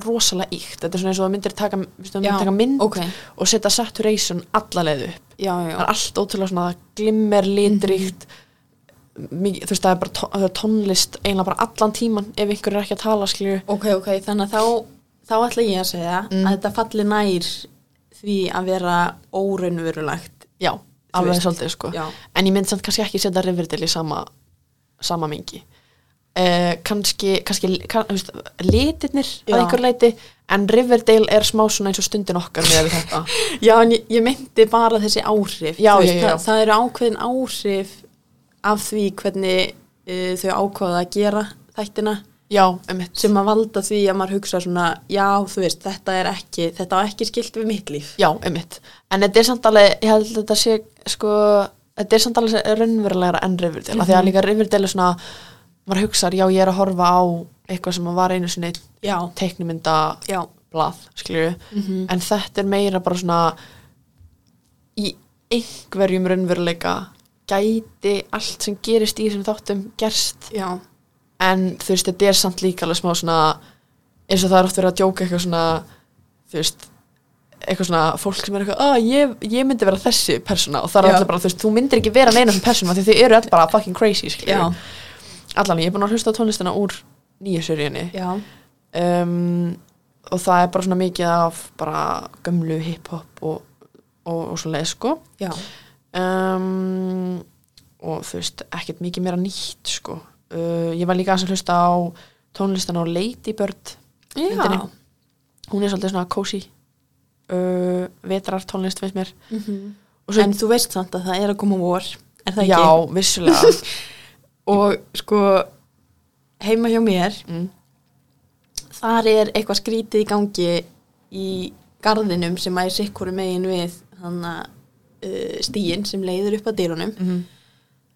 rosalega íkt þetta er svona eins og það myndir taka, þú veist, það
Já,
myndir taka mynd
ok.
og setja saturation alla leið upp
já, já,
það er allt ótrúlega svona glimmer, litrikt mikið, þú veist það er bara tó- það er tónlist eiginlega bara allan tíman ef einhver er ekki að tala skilju
Ok, ok, þannig að þá, þá ætla ég að segja að þetta falli nær því að vera óraunverulegt.
já, alveg
veist.
svolítið sko
Já.
en ég myndi samt kannski ekki setja Riverdale í sama sama mingi uh, kannski, kannski kann, þú veist, litirnir
Já.
að einhver leiti en Riverdale er smá svona eins og stundin okkar með þetta
Já, en ég, ég myndi bara þessi áhrif.
Já,
Þú
já, já.
Það, það eru ákveðin áhrif af því hvernig uh, þau ákvaða að gera þættina
já, um mitt
sem að valda því að maður hugsa svona, já, þú veist, þetta er ekki, þetta á ekki skilt við mitt líf.
Já, einmitt. En þetta er samt alveg, ég held að þetta sé, sko, þetta er samt alveg raunverulegra enn Riverdale. Mm -hmm. Því að líka Riverdale er svona, maður hugsar, já, ég er að horfa á eitthvað sem var einu sinni
Já,
teiknumynda
já,
blað, skilju.
Mhm.
En þetta er meira bara svona, í einhverjum raunveruleika gæti allt sem gerist í þessum þáttum gerst.
já,
En þú veist, þetta er samt líka alveg smá svona, eins og það er oft verið að djóka eitthvað svona, þú veist, eitthvað svona fólk sem er eitthvað, að ég, ég myndi vera þessi persóna og það
Já.
er allir bara, þú veist, þú myndir ekki vera neina sem persóna því þið eru allir bara fucking crazy,
já,
skiljum. Allan, ég er búin að hlusta á tónlistina úr nýju seríunni
já,
um, og það er bara svona mikið af bara gömlu hip-hop og, og, og svo leið, sko.
já,
Um, og þú veist, ekkert mikið meira nýtt, sko. Uh, ég var líka aðeins að hlusta á tónlistina á Ladybird myndinni. hún er svolítið svona cozy uh, vetrar tónlist finnst mér
Mhm.
og svo,
En þú veist samt að það er að koma vor, er það ekki?
já, vissulega
og sko heima hjá mér
mm.
þar er eitthvað skrítið í gangi í garðinum sem að er sikkur megin við þannig uh, stíin sem leiður upp að dýrunum
Mhm.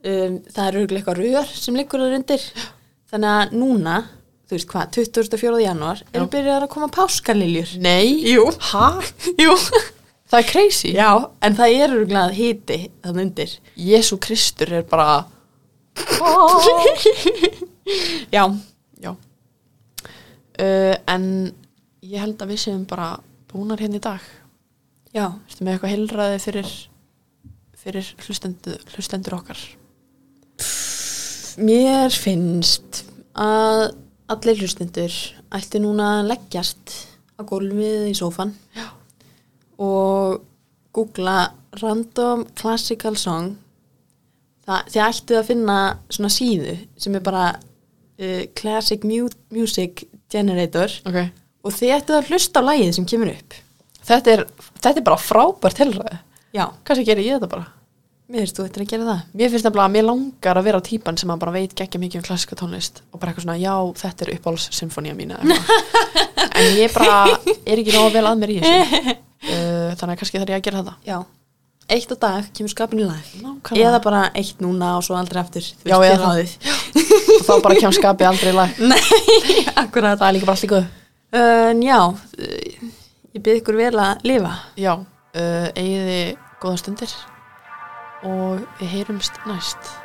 um, það er örgulega eitthvað rör sem liggur þar undir þannig að núna, þú veist hvað, 24. janúar eru byrjað að koma páskaliljur
nei,
Jú,
ha?
jú
það er crazy
Já, en það er örgulega hiti þannig undir
Jésu Kristur er bara
Já,
já uh, en ég held að við séum bara búnar hérna í dag
já,
Ertu með eitthvað heilræði fyrir fyrir hlustendur, hlustendur okkar
Mér finnst að allir hlustendur ætti núna að leggjast á gólfið í sófan
Já.
og googla random classical song Það, þið ættu að finna svona síðu sem er bara uh, classic mu music generator
ok
og þið ættu að hlusta á lagið sem kemur upp
þetta er, þetta er bara frábært heilræði
Já,
kannski gerir ég þetta bara
mér finnst þú ættir að gera það
Mér finnst nefnilega að mér langar að vera típan sem að bara veit geggja mikið um klassika tónlist og bara eitthvað svona, já, þetta er uppáhalds symfónía mín en ég bara er ekki nóg vel að mér í þessu uh, þannig að kannski þarf ég að gera þetta
Já, eitt á dag kemur skapinu lag
Nákvæmlega.
Eða bara eitt núna og svo aldrei aftur Þú
Já,
veist,
eða
þið
það.
ráðið.
og þá bara kemst skapið aldrei í lag
Nei, akkurat
Það er líka bara allt í góð
En já, eh, Ég byrð ykkur vel að lifa.
Já, uh, eigiði góða stundir og við heyrumst næst.